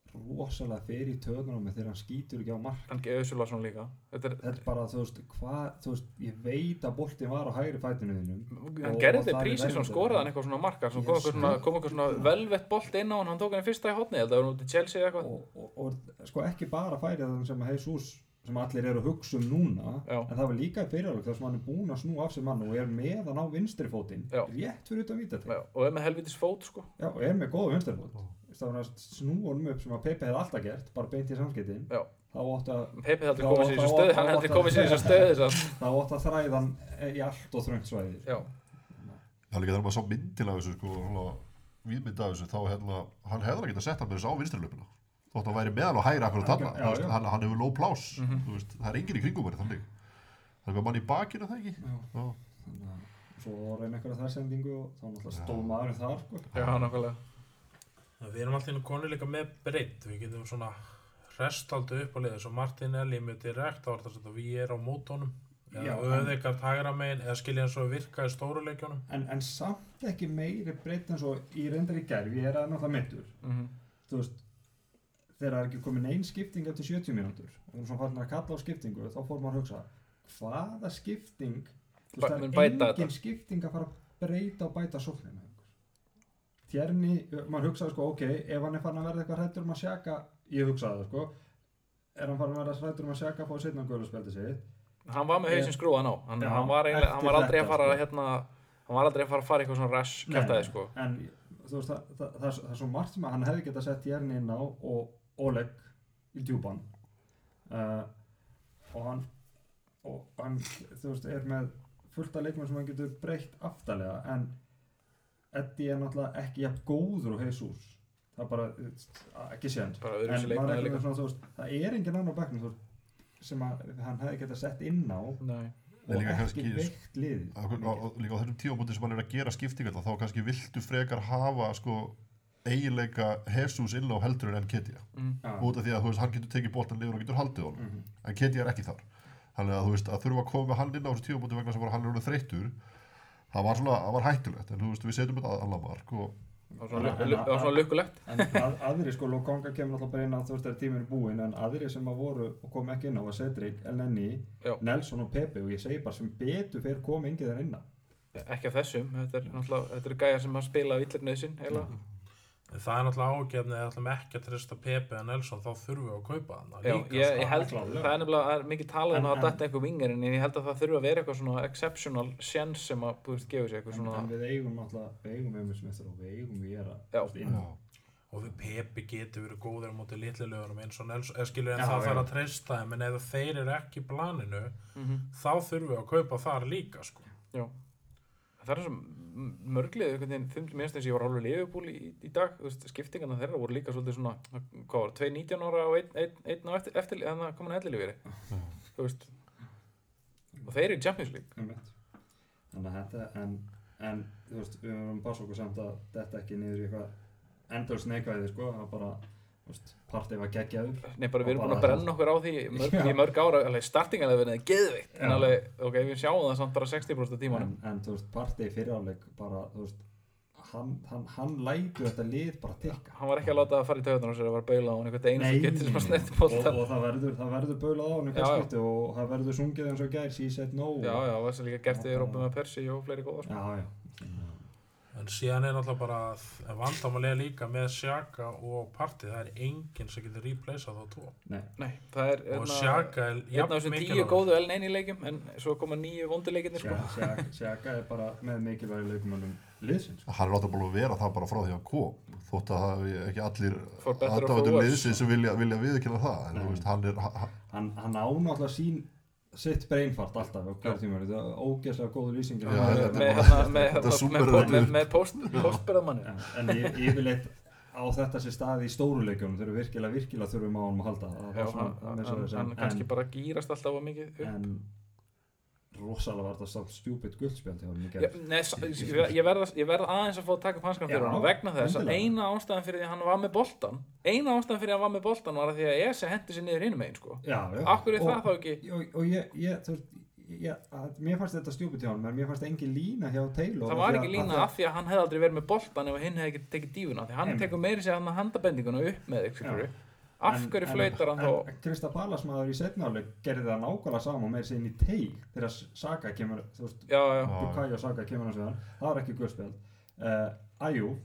Speaker 1: rosalega fyrir í töðunum þegar hann skýtur ekki á mark
Speaker 2: hann geði Ösulason líka þetta er,
Speaker 1: þetta er bara, þú veist, hvað, þú veist, ég veit að boltin var á hægri fætinu þínum
Speaker 2: hann
Speaker 1: Og-
Speaker 2: gerði
Speaker 1: og það
Speaker 2: þetta
Speaker 1: er
Speaker 2: prísið sem
Speaker 1: verndin.
Speaker 2: skoraði hann eitthvað svona markar sem kom
Speaker 1: Ég
Speaker 2: eitthvað svona,
Speaker 1: skil.
Speaker 2: kom eitthvað svona velvett bolt inn á hann hann tók hann í fyrsta í hotni þetta var hann út í Chelsea eða eitthvað
Speaker 1: og, og, og sko ekki bara færið þannig sem að Jesus sem allir eru að hugsa um núna
Speaker 2: Já.
Speaker 1: en það var líka í fyrirhálleg þar sem hann er búinn að snúa af sér mann og er með hann á vinstri fótinn
Speaker 2: Já.
Speaker 1: rétt fyrir utan vítateg
Speaker 2: Já, og er með helvitis fót sko
Speaker 1: Já, og er með góða vinstri fót
Speaker 3: Já.
Speaker 1: það var að snúa hann upp sem að Pepe hefði alltaf gert bara beint í samskiptin
Speaker 2: Já.
Speaker 1: þá átt að,
Speaker 2: Pepe heldur
Speaker 1: Já,
Speaker 2: komið sér
Speaker 1: þá-
Speaker 2: í þessu stöðu
Speaker 1: þá-
Speaker 2: hann
Speaker 1: þá-
Speaker 2: heldur
Speaker 1: þá-
Speaker 2: komið sér í þessu stöðu þess
Speaker 1: þá átt að þræðan í allt og þröngt svæði
Speaker 2: að já,
Speaker 3: það er líka þegar maður sá myndil af þessu sko, svona víðmynd af þessu, þá hérna hann hefði alveg getað sett hann með þessu á vinstrilöpuna þótt að hann væri meðal og hægri akkur að
Speaker 1: Já, já.
Speaker 3: tala hann, hann hefur low plás,
Speaker 2: mhm.
Speaker 3: þú veist, það er enginn í kringum henni þannig, það er með mann í bakinu það ekki
Speaker 1: Já.
Speaker 3: Já.
Speaker 1: þannig að svo reyna einhverja þar sendingu og þá náttúrulega
Speaker 3: Já.
Speaker 1: stóð maður þar sko.
Speaker 2: já, nákvæmlega
Speaker 4: En Við erum alltaf inn og konur líka með breytt, við getum svona restaldu upp á liðið, svo Martin Eli með direkt, þá er það svona við erum á mótónum,
Speaker 1: Já,
Speaker 4: eða
Speaker 1: en-
Speaker 4: öðegard hægra megin, eða skilja eins og virka í stóru leikjónum.
Speaker 1: en, en samt ekki meiri breytt en svo í reyndar í gerf, ég er að náttúrulega mittur
Speaker 2: Mhm.
Speaker 1: þú veist þegar það er ekki komin ein skipting eftir 70 mínútur og við erum svona farin að kalla á skiptingu þá fór maður að hugsa hvaða skipting þú
Speaker 2: Bæ-
Speaker 1: veist það
Speaker 2: mun
Speaker 1: er
Speaker 2: bæta
Speaker 1: engin
Speaker 2: þetta.
Speaker 1: skipting að fara að breyta og bæta sóknina tjerni, maður hugsaði sko ok, ef hann er farin að verða eitthvað hrættur um að sjaka ég hugsaði það sko er hann farin að verða hrættur um að sjaka að fá setna guðlarspeldi sig
Speaker 2: hann var með hausinn
Speaker 1: Ég-
Speaker 2: skrúðan á hann,
Speaker 1: Já,
Speaker 2: hann, var, eiginlega, hann
Speaker 1: eftir
Speaker 2: var aldrei að
Speaker 1: þetta,
Speaker 2: fara
Speaker 1: sko.
Speaker 2: hérna, hann var aldrei að fara að fara eitthvað svona rash kæftæði sko
Speaker 1: en þú veist það, það, það, það er svo margt sem að hann hefði getað sett Jern inn á og Oleg í djúban uh, og hann og hann þú veist er með fullta leikmenn sem hann getur breytt aftalega en Eddie er náttúrulega ekki jafn góður og Jesus það er bara þú veist, ekki séðan
Speaker 2: bara
Speaker 1: en maður er
Speaker 2: öðruvísi leikmaður
Speaker 1: ekki
Speaker 2: líka
Speaker 1: með svona þú veist það er engin annar bæknum þú veist sem að hann hefði getað sett inn á og
Speaker 2: Nei.
Speaker 3: En líka
Speaker 1: ekki
Speaker 3: kannski-
Speaker 1: veikt liðið
Speaker 3: Á- á- á- líka á þessum tímabúti sem hann er að gera skiptingarna þá kannski viltu frekar hafa sko eiginleika Jesus inn á heldur en Ketia
Speaker 2: Mm.
Speaker 1: Já.
Speaker 3: út af því að þú veist, hann getur tekið boltan liður og getur haldið honum
Speaker 1: Mhm.
Speaker 3: en Ketia er ekki þar þannig að þú veist að þurfa að koma með hann inn á þessum tímabúti vegna sem bara hann er orðið þreyttur það var svona, það var hættulegt en þú veist við setjum þetta að alla mark og
Speaker 2: það var svona,
Speaker 1: En-
Speaker 2: lu-
Speaker 1: en-
Speaker 2: það var svona lukkulegt
Speaker 1: En að, aðri sko, Lokonga kemur alltaf bara inn að þú veist þegar tíminn er búinn en aðri sem að voru og kom ekki inn á var Cedric, Elneny,
Speaker 2: Já.
Speaker 1: Nelson og Pepe og ég segi bara sem betur fyrir kom engið þar inna.
Speaker 2: ekki af þessum, þetta er náttúrulega þetta er gæja sem að spila villirnöðsinn eiginlega
Speaker 4: En það er náttúrulega ágefni eða ætlum ekki að treysta Pepe en Nelson, þá þurfum við að kaupa hann.
Speaker 2: Já, ég, ég held,
Speaker 1: klárlega.
Speaker 2: það er nefnilega það er mikið talað um
Speaker 1: En-
Speaker 2: að
Speaker 1: en-
Speaker 2: detta einhver vingar en ég held að það þurfa að vera eitthvað svona exceptional sjens sem að búist gefa sér eitthvað
Speaker 1: En, en
Speaker 2: svona
Speaker 1: við eigum alltaf, við eigum Emil Smith og við eigum Vera
Speaker 2: Já.
Speaker 1: þú veist, inn á.
Speaker 4: Og við Pepe getur verið góðir á móti litlilögunum eins og Nelson, eða skilja en
Speaker 1: Já,
Speaker 4: það
Speaker 1: já.
Speaker 4: þarf að treysta þeim, en ef þeir eru ekki í planinu,
Speaker 2: Mhm.
Speaker 4: þá þurfum við að kaupa þar líka, sko.
Speaker 2: Já. Það er svo mörglið einhvern veginn þumdi mér þess að ég var hálfur leifubúl í, í dag, þú veist, skiptingarna þeirra voru líka svolítið svona, hvað var, 2 19 ára og einn ein, ein á eftir, eftir en það kom hann ellir lífið, þú veist og þeir eru í Champions League
Speaker 1: Einmitt. Þannig að þetta, en, en þú veist, við verðum að passa okkur samt að þetta ekki niður í eitthvað endur sneikvæði sko, það bara, þú veist, partið var geggjaður.
Speaker 2: Nei, bara við erum
Speaker 1: Og
Speaker 2: búin að
Speaker 1: bara-
Speaker 2: brenna okkur á því í mörg,
Speaker 1: Já.
Speaker 2: í mörg ára, alveg startingalega verið geðveikt, en
Speaker 1: Já.
Speaker 2: alveg, ok, við sjáum það samt bara 60% af tímanum,
Speaker 1: en, en þú veist, partið fyriráleik bara, þú veist hann, hann, hann lætur þetta lið bara tikka
Speaker 2: hann var ekki að láta það fara í taugarnar á sér að var að baula á hann eitthvað einu sem getur sem að snetta
Speaker 1: og,
Speaker 2: bólta
Speaker 1: og það verður, það verður bölað á hann í
Speaker 2: Já, já.
Speaker 1: fyrstskipti og það verður sungið eins og í gær, she said no
Speaker 2: Já, já, og þess að líka gert í
Speaker 1: Já.
Speaker 2: Európa með Persi og fleiri góða sko.
Speaker 1: já, já.
Speaker 4: En síðan er náttúrulega bara vandamálega líka með Sjaka og Parti, það er enginn sem getur replaceað þá tvo.
Speaker 1: Nei,
Speaker 2: Nei, það er
Speaker 4: Og
Speaker 2: hérna-
Speaker 4: Sjaka er
Speaker 2: Einn af
Speaker 4: jafn
Speaker 2: þessum tíu
Speaker 4: mikilvægur.
Speaker 2: góðu eln einu leikjum en svo koma nýju vonduleikirnir sko.
Speaker 1: Sjaka- Sjaka- Sjaka er bara með mikilvægi leikumönnum liðsins sko.
Speaker 3: hann er náttúrulega búin að vera það bara frá því að hann kom þótt að það hafi ekki allir
Speaker 2: For better or for
Speaker 3: aðdáðunum
Speaker 2: worse.
Speaker 3: liðsins sem vilja, vilja viðkynna það en þú
Speaker 1: Nei.
Speaker 3: veist, hann er, ha- ha-
Speaker 1: hann, hann ánáttúrulega sín sitt breinfart alltaf á hverjum tíma þetta er ógeðslega góðu lýsingir
Speaker 3: Já, þetta er
Speaker 2: með,
Speaker 3: bara-
Speaker 2: hérna, með,
Speaker 3: þetta
Speaker 2: hérna,
Speaker 3: súmmerar
Speaker 2: með, með,
Speaker 3: þetta
Speaker 2: með,
Speaker 3: upp.
Speaker 2: með post, postbyrðamanni
Speaker 1: Já, en ég, yfirleitt á þetta sér staði í stóruleikjum þegar við virkilega, virkilega þurfum á honum að halda það var svona, það
Speaker 2: hann,
Speaker 1: með svo
Speaker 2: hann,
Speaker 1: þessi-
Speaker 2: hann kannski bara gýrast alltaf að mikið upp.
Speaker 1: en rosalega var þetta samt stjúpid guldspjald hjá hann í
Speaker 2: Já,
Speaker 1: gerð
Speaker 2: nei, sa- ég verð ég verð aðeins að fá að taka upp hanskan fyrir
Speaker 1: Já,
Speaker 2: hann vegna þess að
Speaker 1: endilega.
Speaker 2: eina ástæðan fyrir því að hann var með boltan eina ástæðan fyrir að hann var með boltan var að því að Ese hendi sér niður hinum einn sko.
Speaker 1: já, já.
Speaker 2: Akkur er
Speaker 1: og,
Speaker 2: það þá ekki
Speaker 1: og, og ég, ég, þú veist ég, að, mér fannst þetta stjúpid hjá hann menn mér fannst engin lína hjá Taylor
Speaker 2: það
Speaker 1: af því
Speaker 2: var
Speaker 1: að-
Speaker 2: ekki lína af því að hann hefði aldrei verið með boltan ef hinn hefði ekki tekið dífuna því hann
Speaker 1: Einmitt.
Speaker 2: tekur meiri sér hann handabendinguna upp með
Speaker 1: Já.
Speaker 2: ykkur af
Speaker 1: En-
Speaker 2: hverju
Speaker 1: en-
Speaker 2: flautar hann þá
Speaker 1: en Krista Ballas maður í setnáleik gerði það nákvæmlega saman með sinni teig þegar Saga kemur þú veist,
Speaker 2: já, já,
Speaker 3: Já.
Speaker 1: Bukayo Saka kemur hans við hann það var ekki guðspjald uh, Ajú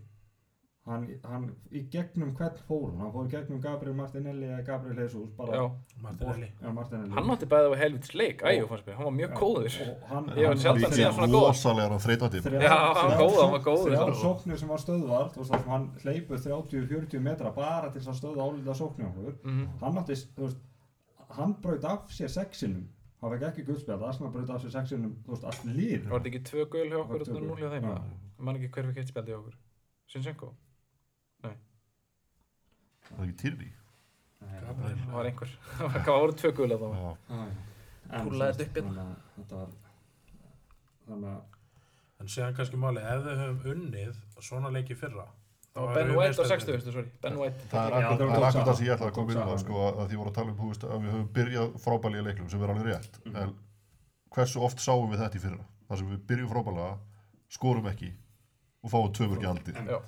Speaker 1: hann, hann í gegnum hvern fór hann hann fór í gegnum Gabriel Martinelli eða Gabriel Jesus bara
Speaker 2: já.
Speaker 4: Martinelli.
Speaker 1: Já, Martinelli
Speaker 2: hann átti bæðið á helvits leik, æjú fannst mér, hann var mjög
Speaker 1: Já,
Speaker 2: góður
Speaker 1: og hann,
Speaker 2: Ég hef sjaldan séð hann svona góðan.
Speaker 3: rosalega hann þreytandi
Speaker 1: Þrjá-
Speaker 2: Já, hann var
Speaker 1: þrjá-
Speaker 2: góður, hann var góður.
Speaker 1: þrjár sóknir sem var stöðvar þú veist, þar sem hann hleypur 30-40 metra bara til þess að stöða álita sóknir okkur
Speaker 2: Mhm.
Speaker 1: hann átti, þú veist, hann braut af sér sexinum hann fekk ekki guðspjald Arsenal braut af sér sexinum, þú veist, allt lið
Speaker 2: Það var þetta ekki tvö gul hjá
Speaker 1: Það var
Speaker 2: okkur
Speaker 1: tvö
Speaker 2: og núl hjá
Speaker 1: gul,
Speaker 2: þeim
Speaker 1: já.
Speaker 2: eða? ég man ekki hver fyrir kettspjaldi hjá okkur Sinchenko,
Speaker 3: það er ekki týrni
Speaker 1: Eh,
Speaker 4: Gabriel.
Speaker 2: það var einhver það var- það voru tvö gul að það
Speaker 1: Þú
Speaker 2: Túlaði þetta upp
Speaker 1: Þannig
Speaker 2: hérna.
Speaker 1: að þetta var Þannig að
Speaker 4: En síðan kannski máli, ef við höfum unnið svona leiki í fyrra,
Speaker 2: Það var Ben White á 60, veistu, sorry. Ben White.
Speaker 3: Það er
Speaker 1: Já,
Speaker 3: akkur-
Speaker 1: það tók
Speaker 3: það er akkur það
Speaker 1: saman.
Speaker 3: sem ég ætlaði að
Speaker 1: Tók
Speaker 3: koma inn á það
Speaker 1: saman.
Speaker 3: sko, að að því voru að tala um, þú veist, að við höfum byrjað frábælega í leiklum sem er alveg rétt
Speaker 1: Mhm.
Speaker 3: en hversu oft sáum við þetta í fyrra þar sem við byrjum frábælega, skorum ekki og fáum tömur ekki aldrei
Speaker 1: En-
Speaker 2: Já.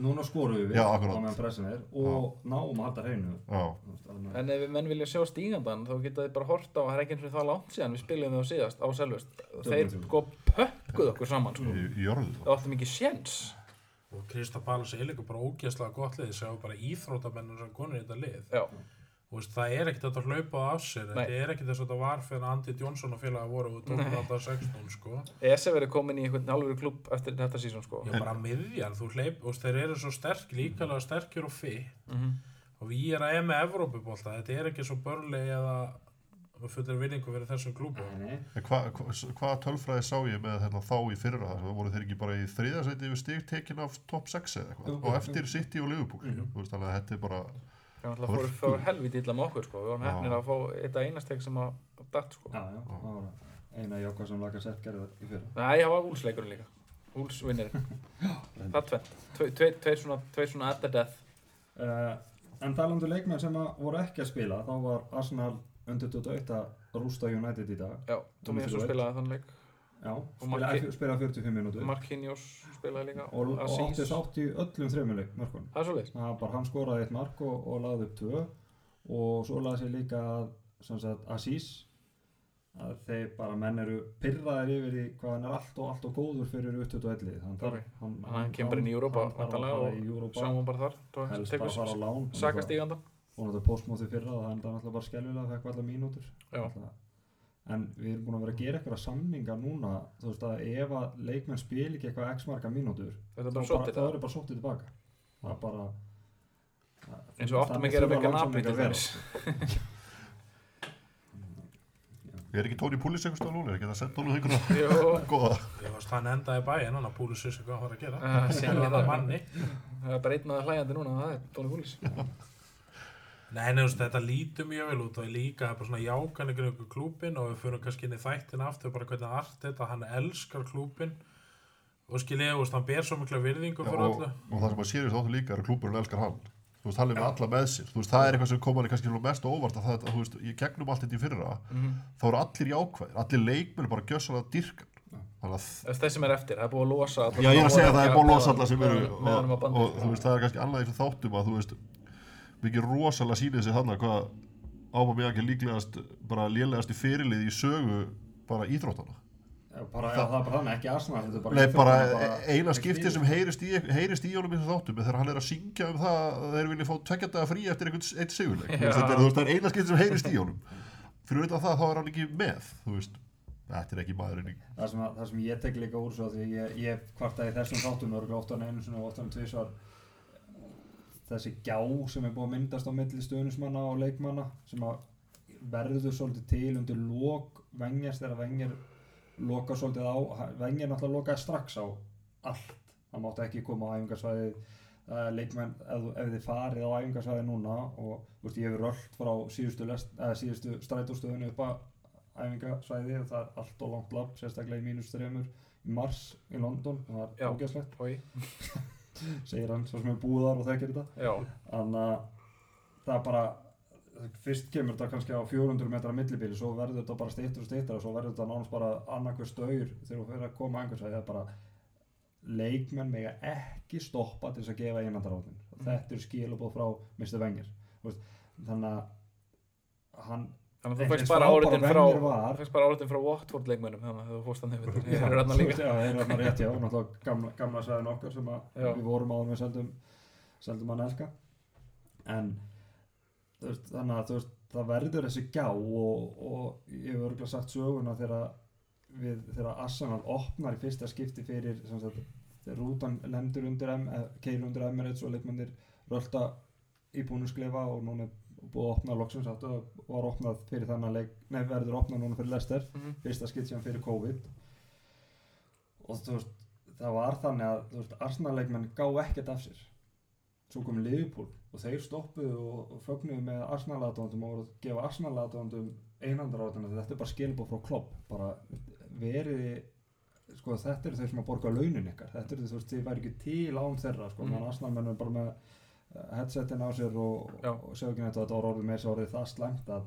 Speaker 1: Núna skorum við
Speaker 3: Já,
Speaker 1: á
Speaker 3: akkurat.
Speaker 1: meðan pressin er og náum að halda hreinu.
Speaker 3: Já,
Speaker 1: Þú veist, alveg-
Speaker 2: En ef menn vilja sjá stígandan þá geta þið bara hort á að það er ekki eins og það langt síðan við spilum þau síðast á selvest þeir
Speaker 1: Dögum.
Speaker 2: sko pökkuð okkur saman sko.
Speaker 3: í, í jörðu
Speaker 2: það áttum ekki séns
Speaker 4: Og Krista Palas er líka bara ógeðslega gott lið, sjáu bara íþrótamennin sem konur í þetta lið.
Speaker 2: Já,
Speaker 4: Þú Veist, það er ekkert þetta hlaupað af sér,
Speaker 2: Nei.
Speaker 4: þetta er ekkert þess að þetta var fyrir að Andi Jónsson og félaga voru og tókum þetta 16 sko.
Speaker 2: ESE verið komin í einhvern alvöru klubb eftir þetta sísón sko
Speaker 4: Já, bara miðjan, þú hleyp, þú veist, þeir eru svo sterk, líkalega sterkir og fitt
Speaker 2: Mhm.
Speaker 4: og við erum að ema Evrópubólta, þetta er ekki svo börli eða fullir vinningu fyrir þessum klúbu.
Speaker 2: Mm.
Speaker 1: Nei,
Speaker 3: En hva, hva, hvaða tölfræði sá ég með hérna, þá í fyrra þar sem voru þeir ekki bara í þriðasæti yfir stig tekin af top 6 eða eitthvað
Speaker 1: Jú,
Speaker 3: og
Speaker 1: jú. Mhm.
Speaker 3: eftir City og Liverpool þú veist þannig að þetta er bara
Speaker 2: Það fór, fór helvítið illa með okkur sko við vorum
Speaker 3: Já.
Speaker 2: hefnir að fá þetta einasteg sem að datt sko
Speaker 1: já, já, það var eina jákvæð sem laga sett gerði í fyrra.
Speaker 2: Nei, það var úlsleikurinn líka úlsvinnirinn Það er tvennt Tve- tveir- Tveir svona- tveir svona at the death
Speaker 1: Uh, en talandu leikmenn sem að voru ekki að spila, þá var Arsenal undir 21 að rústa United í dag.
Speaker 2: Já, Tomias
Speaker 1: White.
Speaker 2: spilaði þann leik
Speaker 1: Já, spila,
Speaker 2: Marki-
Speaker 1: spila 45 minútur
Speaker 2: Marquinhos spilaði líka
Speaker 1: og, og átti
Speaker 2: Assis
Speaker 1: þátt í öllum þreymuleik mörkunum.
Speaker 2: Það er svolítið
Speaker 1: Það var bara hann skoraði eitt mark og, og laði upp tvö og svo laði sér líka að, sem sagt, Asís að þeir bara menn eru pyrraðir yfir því hvað hann er allt og allt og góður fyrir U21 þannig að
Speaker 2: Ok. hann kemur bara inn í Europa
Speaker 1: hann þarf að
Speaker 2: væntanlega,
Speaker 1: fara
Speaker 2: og
Speaker 1: í Europa
Speaker 2: sjáum hann bara þar Tó-
Speaker 1: helst bara
Speaker 2: tekur
Speaker 1: að fara á lán
Speaker 2: sakast í gandan
Speaker 1: og náttúrulega postmótið fyrra og það er náttúrulega bara skelvilega það fekk alltaf mínútur
Speaker 2: Já.
Speaker 1: Náttúrulega. en við erum búin að vera að gera eitthvað samninga núna þú veist að ef að leikmenn spil ekki eitthvað x marga mínútur þá
Speaker 2: þetta er bara
Speaker 1: bara-
Speaker 2: svolítið
Speaker 1: þá
Speaker 2: það
Speaker 1: eru bara sóttið tilbaka það er bara það-
Speaker 2: eins og áttum
Speaker 1: þannig
Speaker 2: að gera
Speaker 1: þurfa
Speaker 2: vekka napi
Speaker 1: lánsamningar
Speaker 2: til
Speaker 1: að vera.
Speaker 2: þess
Speaker 3: er ekki Tony Pulis einhvers staðar núna, er ekki það að senda honum einhverja
Speaker 2: Jó,
Speaker 3: góða
Speaker 4: Ég veist, hann endaði í bæinn, hann að púli sér hvað hann var að gera.
Speaker 2: Ah, sem
Speaker 4: Hann
Speaker 2: var það.
Speaker 4: að manni.
Speaker 2: það er bara einn að hlæjandi núna það er Tony Gullis
Speaker 4: Nei, nefnst, þetta lítur mjög vel út og líka það er bara svona jákan ykkur ykkur klúbin og við fyrir kannski inn í þættin aftur bara hvernig allt þetta, hann elskar klúbin og skilja, þú veist, hann ber svo mikla virðingu fyrir
Speaker 3: og,
Speaker 4: öllu.
Speaker 3: og það sem að sérjus áttu líka er að klúburinn elskar hann þú veist, hann er með alla með sér þú veist, það er eitthvað sem kom hann kannski svona mest á óvart að það, þú veist, ég gegnum allt þetta í fyrra
Speaker 1: Mhm.
Speaker 3: þá eru allir jákvæðir, allir leikmenn bara gjössan að dyrka þannig að
Speaker 2: þess sem er eftir, það er búið að losa alla
Speaker 3: Já, ég er að
Speaker 2: sem
Speaker 3: segja
Speaker 2: voru
Speaker 3: það er
Speaker 2: ekki
Speaker 3: búin að
Speaker 2: meðan-
Speaker 3: losa alla sem eru
Speaker 2: meðan- meðan
Speaker 3: og,
Speaker 2: um að bandi
Speaker 3: og þú veist, það er kannski annað eins og þáttum að þú veist, mikið rosalega sýnið sér þannig hvað ábæð mér ekki líklegast bara lélegasti fyrirlið í sögu bara íþróttana
Speaker 1: Já, bara, já, það er bara þannig, ekki Arsenal þetta er bara,
Speaker 3: Nei, bara e-
Speaker 1: bara-
Speaker 3: eina skiptið sem heyrist í, heyrist í honum í þessum þáttum er þegar hann er að syngja um það að þeir vilja fá tveggjandaga frí eftir einhvern eitt sigurleik Þú veist, þetta er, þú veist, það er eina skiptið sem heyrist í honum fyrir auðvitað það þá er hann ekki með þú veist, þetta er ekki maðurinn í
Speaker 1: það sem, að, það sem ég tek líka úr svo því að ég, ég kvartaði í þessum þáttum örgulega oftan einu svona oftan tvisvar þessi gjá sem er búið að myndast á milli stöðnismanna og leikmanna sem að verður svolítið til undir lok vengjast þegar vengjar loka svolítið á vengjar náttúrulega lokaði strax á allt það mátti ekki koma á æfingarsvæðið uh, leikmenn ef, þú- ef þið farið á æfingarsvæðið núna og þú veist, ég hef rölt frá síðustu, lest, uh, síðustu strætóstöðinu upp að æfingasvæði og það er allt og langt lapp, sérstaklega í mínus þremur í mars í London og það
Speaker 2: Já.
Speaker 1: er ógæslegt,
Speaker 2: Oj,
Speaker 1: segir hann svo sem er búið þar og þekkir þetta
Speaker 2: já,
Speaker 1: þannig að það er bara fyrst kemur þetta kannski á 400 metra millibili, svo verður þetta bara stýttur og stýttur og svo verður þetta nánast bara annarkvör staur þegar þú fyrir að koma einhvers að það er bara leikmenn mega ekki stoppa til þess að gefa einandaráðin mm. þetta er skilabóð frá Mr. Wenger Þú veist, þannig að hann
Speaker 2: þannig að þú
Speaker 1: Eins
Speaker 2: fækst bara
Speaker 1: frábær
Speaker 2: áritin frá
Speaker 1: venjur var.
Speaker 2: þú fækst bara áritin frá Watford leikmönnum þannig að þú fórst hann yfir þeir eru hann
Speaker 1: Þú
Speaker 2: líka
Speaker 1: veist, Já, þeir eru þarna rétt, já, náttúrulega gamla, gamla sæðin okkar sem að
Speaker 2: Já.
Speaker 1: við vorum áður með seldum, seldum hann elka en þú veist, þannig að þú veist, það verður þessi gjá og, og ég hef örgulega sagt söguna þegar við, þegar Arsenal opnar í fyrsta skipti fyrir sem sagt, þegar rútan lendur undir M, keir undir Emirates og leikmennir rölda í búnusklefa og núna er búið að opna loksins áttu að var opnað fyrir þannig leik, nei verður opnað núna fyrir Leicester
Speaker 2: Mhm.
Speaker 1: fyrsta skipt sem fyrir COVID og þú veist það var þannig að þú veist Arsenal-leikmenn gá ekkert af sér svo kom Liverpool og þeir stoppuðu og, og fögnuðu með Arsenal-aðdóndum og voru að gefa Arsenal-aðdóndum einandar á þetta er bara skilbóð frá klopp bara veriði sko þetta eru þeir sem að borga launin ykkar þetta eru þú veist, þið væri ekki til án þeirra sko,
Speaker 2: Mhm.
Speaker 1: mm. Arsenal menn er bara með eh, headsetin á sér og,
Speaker 2: Já.
Speaker 1: og sjá ekki neitt og þetta voru orðið með sér orðið það slæmt að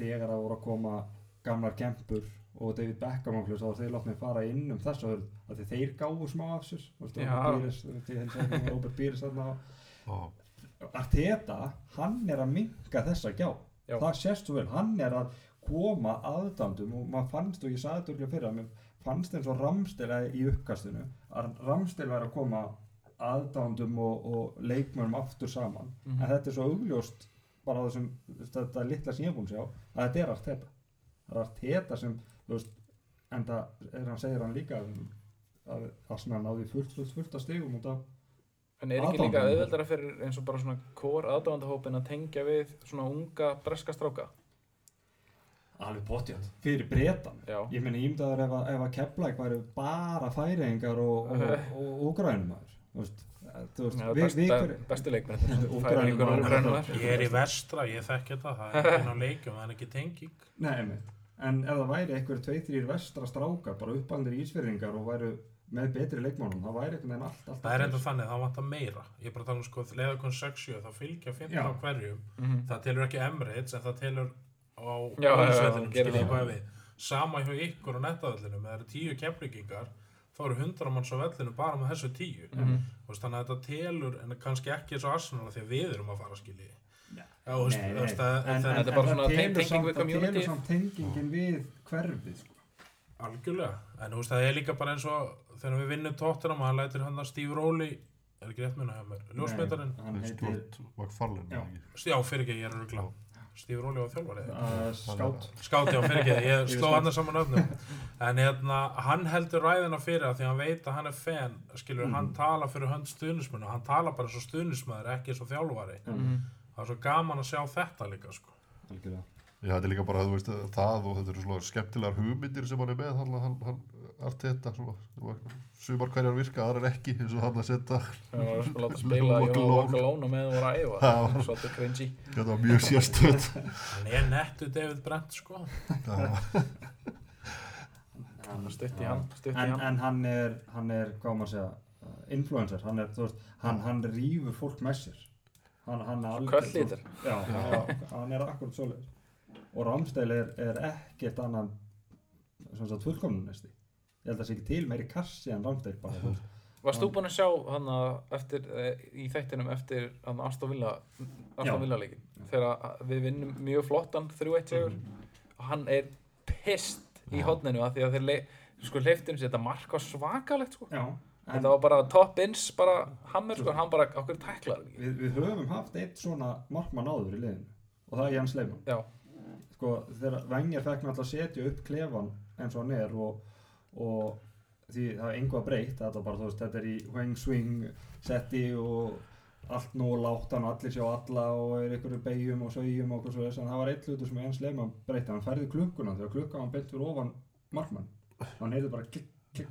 Speaker 1: þegar það voru að koma gamlar kempur og David Beckham og hljóðs þá voru þeir látnið fara inn um þess að þeir, þeir gáfu smá af sér þú veist,
Speaker 2: Já.
Speaker 1: Robert Pires, þú veist, ég held að Robert Pires þarna á
Speaker 3: og
Speaker 1: Arteta, hann er að minka þessa gjá
Speaker 2: Já.
Speaker 1: það sést svo vel, hann er að koma aðdandum og maður fannst og ég sagði þetta örgulega fyrir að mér fannst eins og ramstila í uppkastinu að ramstila er að koma aðdandum og, og leikmönum aftur saman
Speaker 2: Mhm.
Speaker 1: en
Speaker 4: Mm.
Speaker 1: þetta er svo augljóst bara á þessum, þetta litla sem ég er búin að sjá að þetta er Arteta það er Arteta sem, þú veist en það er hann segir hann líka um að Arsenal náði fullt, fullt, fullt að stigum út af
Speaker 2: En er ekki líka
Speaker 1: Aðdáendahópinn.
Speaker 2: auðveldara fyrir eins og bara svona kór aðdáðandahópin að tengja við svona unga breska stráka?
Speaker 1: alveg potjátt fyrir bretan
Speaker 2: Já.
Speaker 1: ég meina ímdaður ef að, ef að Keflæk væri bara færingar og, og, og úgrænumar þú veist, eh, þú veist
Speaker 2: Já,
Speaker 1: við,
Speaker 2: besta,
Speaker 1: við hverju
Speaker 2: bestu leikmenn
Speaker 1: Úkraínumaður.
Speaker 2: Færingur og Ukraínumaður
Speaker 4: Ég er í vestra, ég þekk þetta, það er ekki ná leikjum, það er ekki tenging.
Speaker 1: nei, einmitt. en ef það væri einhver tvei, þrýr vestra strákar bara uppaldir ísfyrringar og væru með betri leikmónum, það væri einhvern veginn allt, allt
Speaker 4: Það er enda þannig, það vantar meira. Ég er bara að tala um sko, leiða kon 60, það fylgja 15 á
Speaker 1: Já.
Speaker 4: hverjum.
Speaker 2: Mhm.
Speaker 4: Það telur ekki Emirates, en það telur á
Speaker 2: Já, já, já,
Speaker 4: bólusvellinum,
Speaker 2: gerir það.
Speaker 4: skiljið hvað við. Sama hjá ykkur á nettavellinu, það eru tíu kemplíkingar, þá eru hundra manns á vellinu bara með þessu tíu.
Speaker 2: Mhm.
Speaker 4: Þú veist, Þannig að þetta telur, en kannski ekki eins og Arsenal, af því að við erum að fara, skiljið.
Speaker 1: Nei.
Speaker 4: Já, þú veist,
Speaker 1: Nei, nei.
Speaker 4: þú veist, það-
Speaker 1: en, en,
Speaker 4: það
Speaker 1: en,
Speaker 2: þetta er bara svona
Speaker 1: það
Speaker 2: tenging
Speaker 1: telur samt,
Speaker 2: við
Speaker 1: það
Speaker 2: community.
Speaker 1: telur samt tengingin við hverfið sko.
Speaker 4: Algjörlega, en þú veist það er líka bara eins og þegar við vinnum tóttunum hann lætir hann að Steve Rowley er ekki rétt minna hjá mér, ljósmyndarinn
Speaker 1: Nei, hann heitir
Speaker 3: Stuart McFarlane
Speaker 1: Já.
Speaker 3: eða ekki?
Speaker 4: já fyrir ekki, ég er rugla Steve Rowley var þjálfari,
Speaker 1: uh, skátt
Speaker 4: skáti á fyrir ekki ég sló
Speaker 1: skátt.
Speaker 4: hann saman öfnum en hérna, hann heldur ræðina fyrir það því hann veit að hann er fan, skilur hann
Speaker 2: Mhm.
Speaker 4: tala fyrir hönd stuðnismenn og hann tala bara svo stuðnismæður, ekki svo þjálfari
Speaker 2: Mm,
Speaker 1: Mhm.
Speaker 4: það er svo gaman að sjá þetta líka sko.
Speaker 1: algjörlega
Speaker 3: Já, þetta er líka bara, þú veist, það og þetta eru svona skemmtilegar hugmyndir sem hann er með, hann, hann, hann allt þetta, svona, sumar hverjar virka, aðrar ekki, eins og hann að setja,
Speaker 2: Það var sko að láta spila
Speaker 3: Walk
Speaker 2: Jóa
Speaker 3: alone.
Speaker 2: Vakalóna með og ræfa
Speaker 3: Já.
Speaker 2: Svolítið cringy
Speaker 3: þetta var mjög sérstöð.
Speaker 4: hann er nettu David Brent sko.
Speaker 3: Já,
Speaker 1: Hann-
Speaker 2: Stutt í
Speaker 1: já.
Speaker 2: hann, stutt
Speaker 1: en,
Speaker 2: í hann.
Speaker 1: en hann er, hann er, hvað á maður að segja, uh, influencer, hann er, þú veist, hann, hann rýfur fólk með sér. Hann, hann er algjör-
Speaker 2: Köll lítur
Speaker 1: Já, hann er- hann er akkurat svoleiðis. Og Ramsteil er, er ekkert annað, sem sagt, fullkomnunisti. Ég held að það sé ekki til meiri kassi en Ramsteil bara, þú veist.
Speaker 2: Varst þú búinn að sjá hann eftir, eh, í þættinum eftir hann Aston Villa
Speaker 1: Já.
Speaker 2: Aston Villa leikin þegar að við vinnum mjög flottan 3-1
Speaker 1: Mhm.
Speaker 2: sigur og hann er pissed í hodninu að því að þeir le, sko hleyftum sér þetta mark var svakalegt sko
Speaker 1: Já, en
Speaker 2: þetta var bara top ins bara hammer sko en hann bara okkur tæklar ekki
Speaker 1: við, við höfum haft eitt svona markmann áður í liðinu og það er Jens Leimann.
Speaker 2: já,
Speaker 1: sko, þegar Wenger fekk náttúrulega að setja upp klefan eins og hann er og, og því það er einhvað breytt þetta er bara, þú veist, þetta er í weng swing setti og allt nú látt hann, allir sjá alla og er einhverju beigjum og saugjum og okkur svo þess en það var eitt hlutur sem Jens Lehmann breytti hann færði klukkuna þegar klukka hann beint fyrir ofan markmann hann heyrði bara klikk, klikk,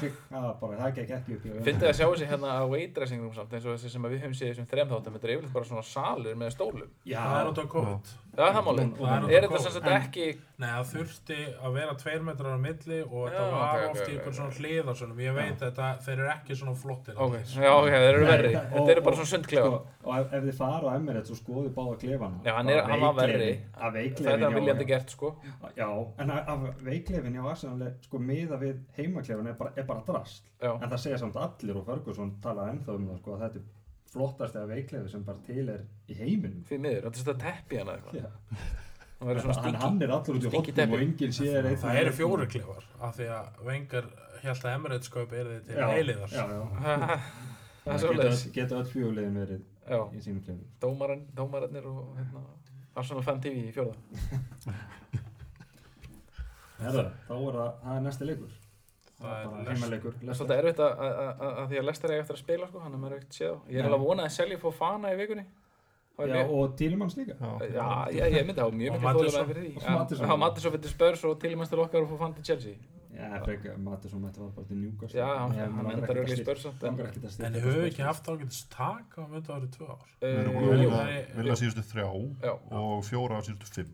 Speaker 1: klikk það var bara, það gekk ekki upp í-
Speaker 2: fyndið að sjá þessi hérna að weightdressing room samt eins og þessi sem að við höfum séð í þessum þrem þáttum þetta er yfirleitt bara svona salur með stólum
Speaker 1: Já,
Speaker 4: það er út á COVID
Speaker 2: það er það málið,
Speaker 1: Það er
Speaker 2: er
Speaker 4: út á
Speaker 2: þetta
Speaker 4: kór.
Speaker 2: sem sagt ekki
Speaker 4: Nei, það þurfti að vera tveir metrar á milli og þetta
Speaker 2: Já,
Speaker 4: var
Speaker 2: ok, ok,
Speaker 4: oft í
Speaker 2: ok,
Speaker 4: einhvern
Speaker 2: ok.
Speaker 4: svona hliðarsunum. Ég veit að þetta, þeir eru ekki svona flottir.
Speaker 2: ok, já ok, þeir eru verri
Speaker 1: Nei, og-
Speaker 2: þetta eru bara
Speaker 1: og-
Speaker 2: svona sundklefa
Speaker 1: sko, og ef, ef þið fara á Emirates og skoðu báða klefana
Speaker 2: Já, hann er-
Speaker 1: bara
Speaker 2: hann var verri.
Speaker 1: veikleifin- að
Speaker 2: það er
Speaker 1: veikleifin
Speaker 2: það
Speaker 1: hjá-
Speaker 2: viljandi gert sko
Speaker 1: Já, en að, að veikleifin hjá Arsenal er sko miða við heimaklefin er bara, er bara drast
Speaker 2: já,
Speaker 1: en það segja samt allir og Ferguson tala ennþá um það sko að þetta er flottast eða veikleifi sem bara til er í heiminum
Speaker 2: fyrir miður, þetta er svona teppi hana eitthvað
Speaker 1: Já.
Speaker 2: það verður svona
Speaker 1: en
Speaker 2: stingi
Speaker 1: hann er allur út í
Speaker 2: stinky
Speaker 1: hotnum
Speaker 2: teppi.
Speaker 1: og enginn sér eitt
Speaker 4: Það eru fjóri klefar, af því að vengar held að Emirates kaup er þið til eiliðar.
Speaker 1: Já, já,
Speaker 2: það er
Speaker 1: Það geta,
Speaker 2: svolítið
Speaker 1: geta öll fjögulegin verið
Speaker 2: já,
Speaker 1: í sínum klefin
Speaker 2: dómaran, dómararnir og hérna Arsenal Fan TV í fjórða
Speaker 1: Herra, þá er það, það er næsti leikur
Speaker 4: Það er
Speaker 1: bara
Speaker 4: Leicester.
Speaker 1: heimaleikur
Speaker 2: Það er
Speaker 1: Leicester.
Speaker 2: svolítið erfitt að, að, að, að því að Lester er eftir að spila sko, hann er maður ekkert séð á. Ég er
Speaker 1: Nei.
Speaker 2: alveg vonað að selja fór fana í vikunni. Það
Speaker 1: Já,
Speaker 2: er ég,
Speaker 1: og Tílimanns líka
Speaker 3: já.
Speaker 2: já, ég, ég myndi hafa mjög
Speaker 4: Og
Speaker 2: mikið þólega
Speaker 4: Maddison.
Speaker 2: með fyrir því.
Speaker 1: Og
Speaker 2: Já,
Speaker 1: Maddison.
Speaker 2: Já, Mattisson fyrir Spurs og tilmæst til okkar og fór fann til Chelsea.
Speaker 1: Já, frekar, Mattisson mætti var bara til Newcastle
Speaker 2: Já, hann,
Speaker 1: Ég-
Speaker 2: hann,
Speaker 1: mig
Speaker 2: hann
Speaker 1: langar
Speaker 2: endar
Speaker 1: ekkert að
Speaker 2: öll í
Speaker 1: styrkja-
Speaker 2: Spurs samt.
Speaker 1: mig
Speaker 2: en-
Speaker 1: langar ekkert að
Speaker 4: En
Speaker 1: styrkja
Speaker 4: þið höfum
Speaker 1: Spurs.
Speaker 4: ekki haft ágætis tak á myndu árið tvö ár.
Speaker 3: Við
Speaker 2: Eh,
Speaker 3: erum búin að
Speaker 2: jú,
Speaker 3: vinna,
Speaker 4: það er-
Speaker 3: vinna síðustu þrjá
Speaker 2: Já,
Speaker 3: og fjóra af síðustu fimm.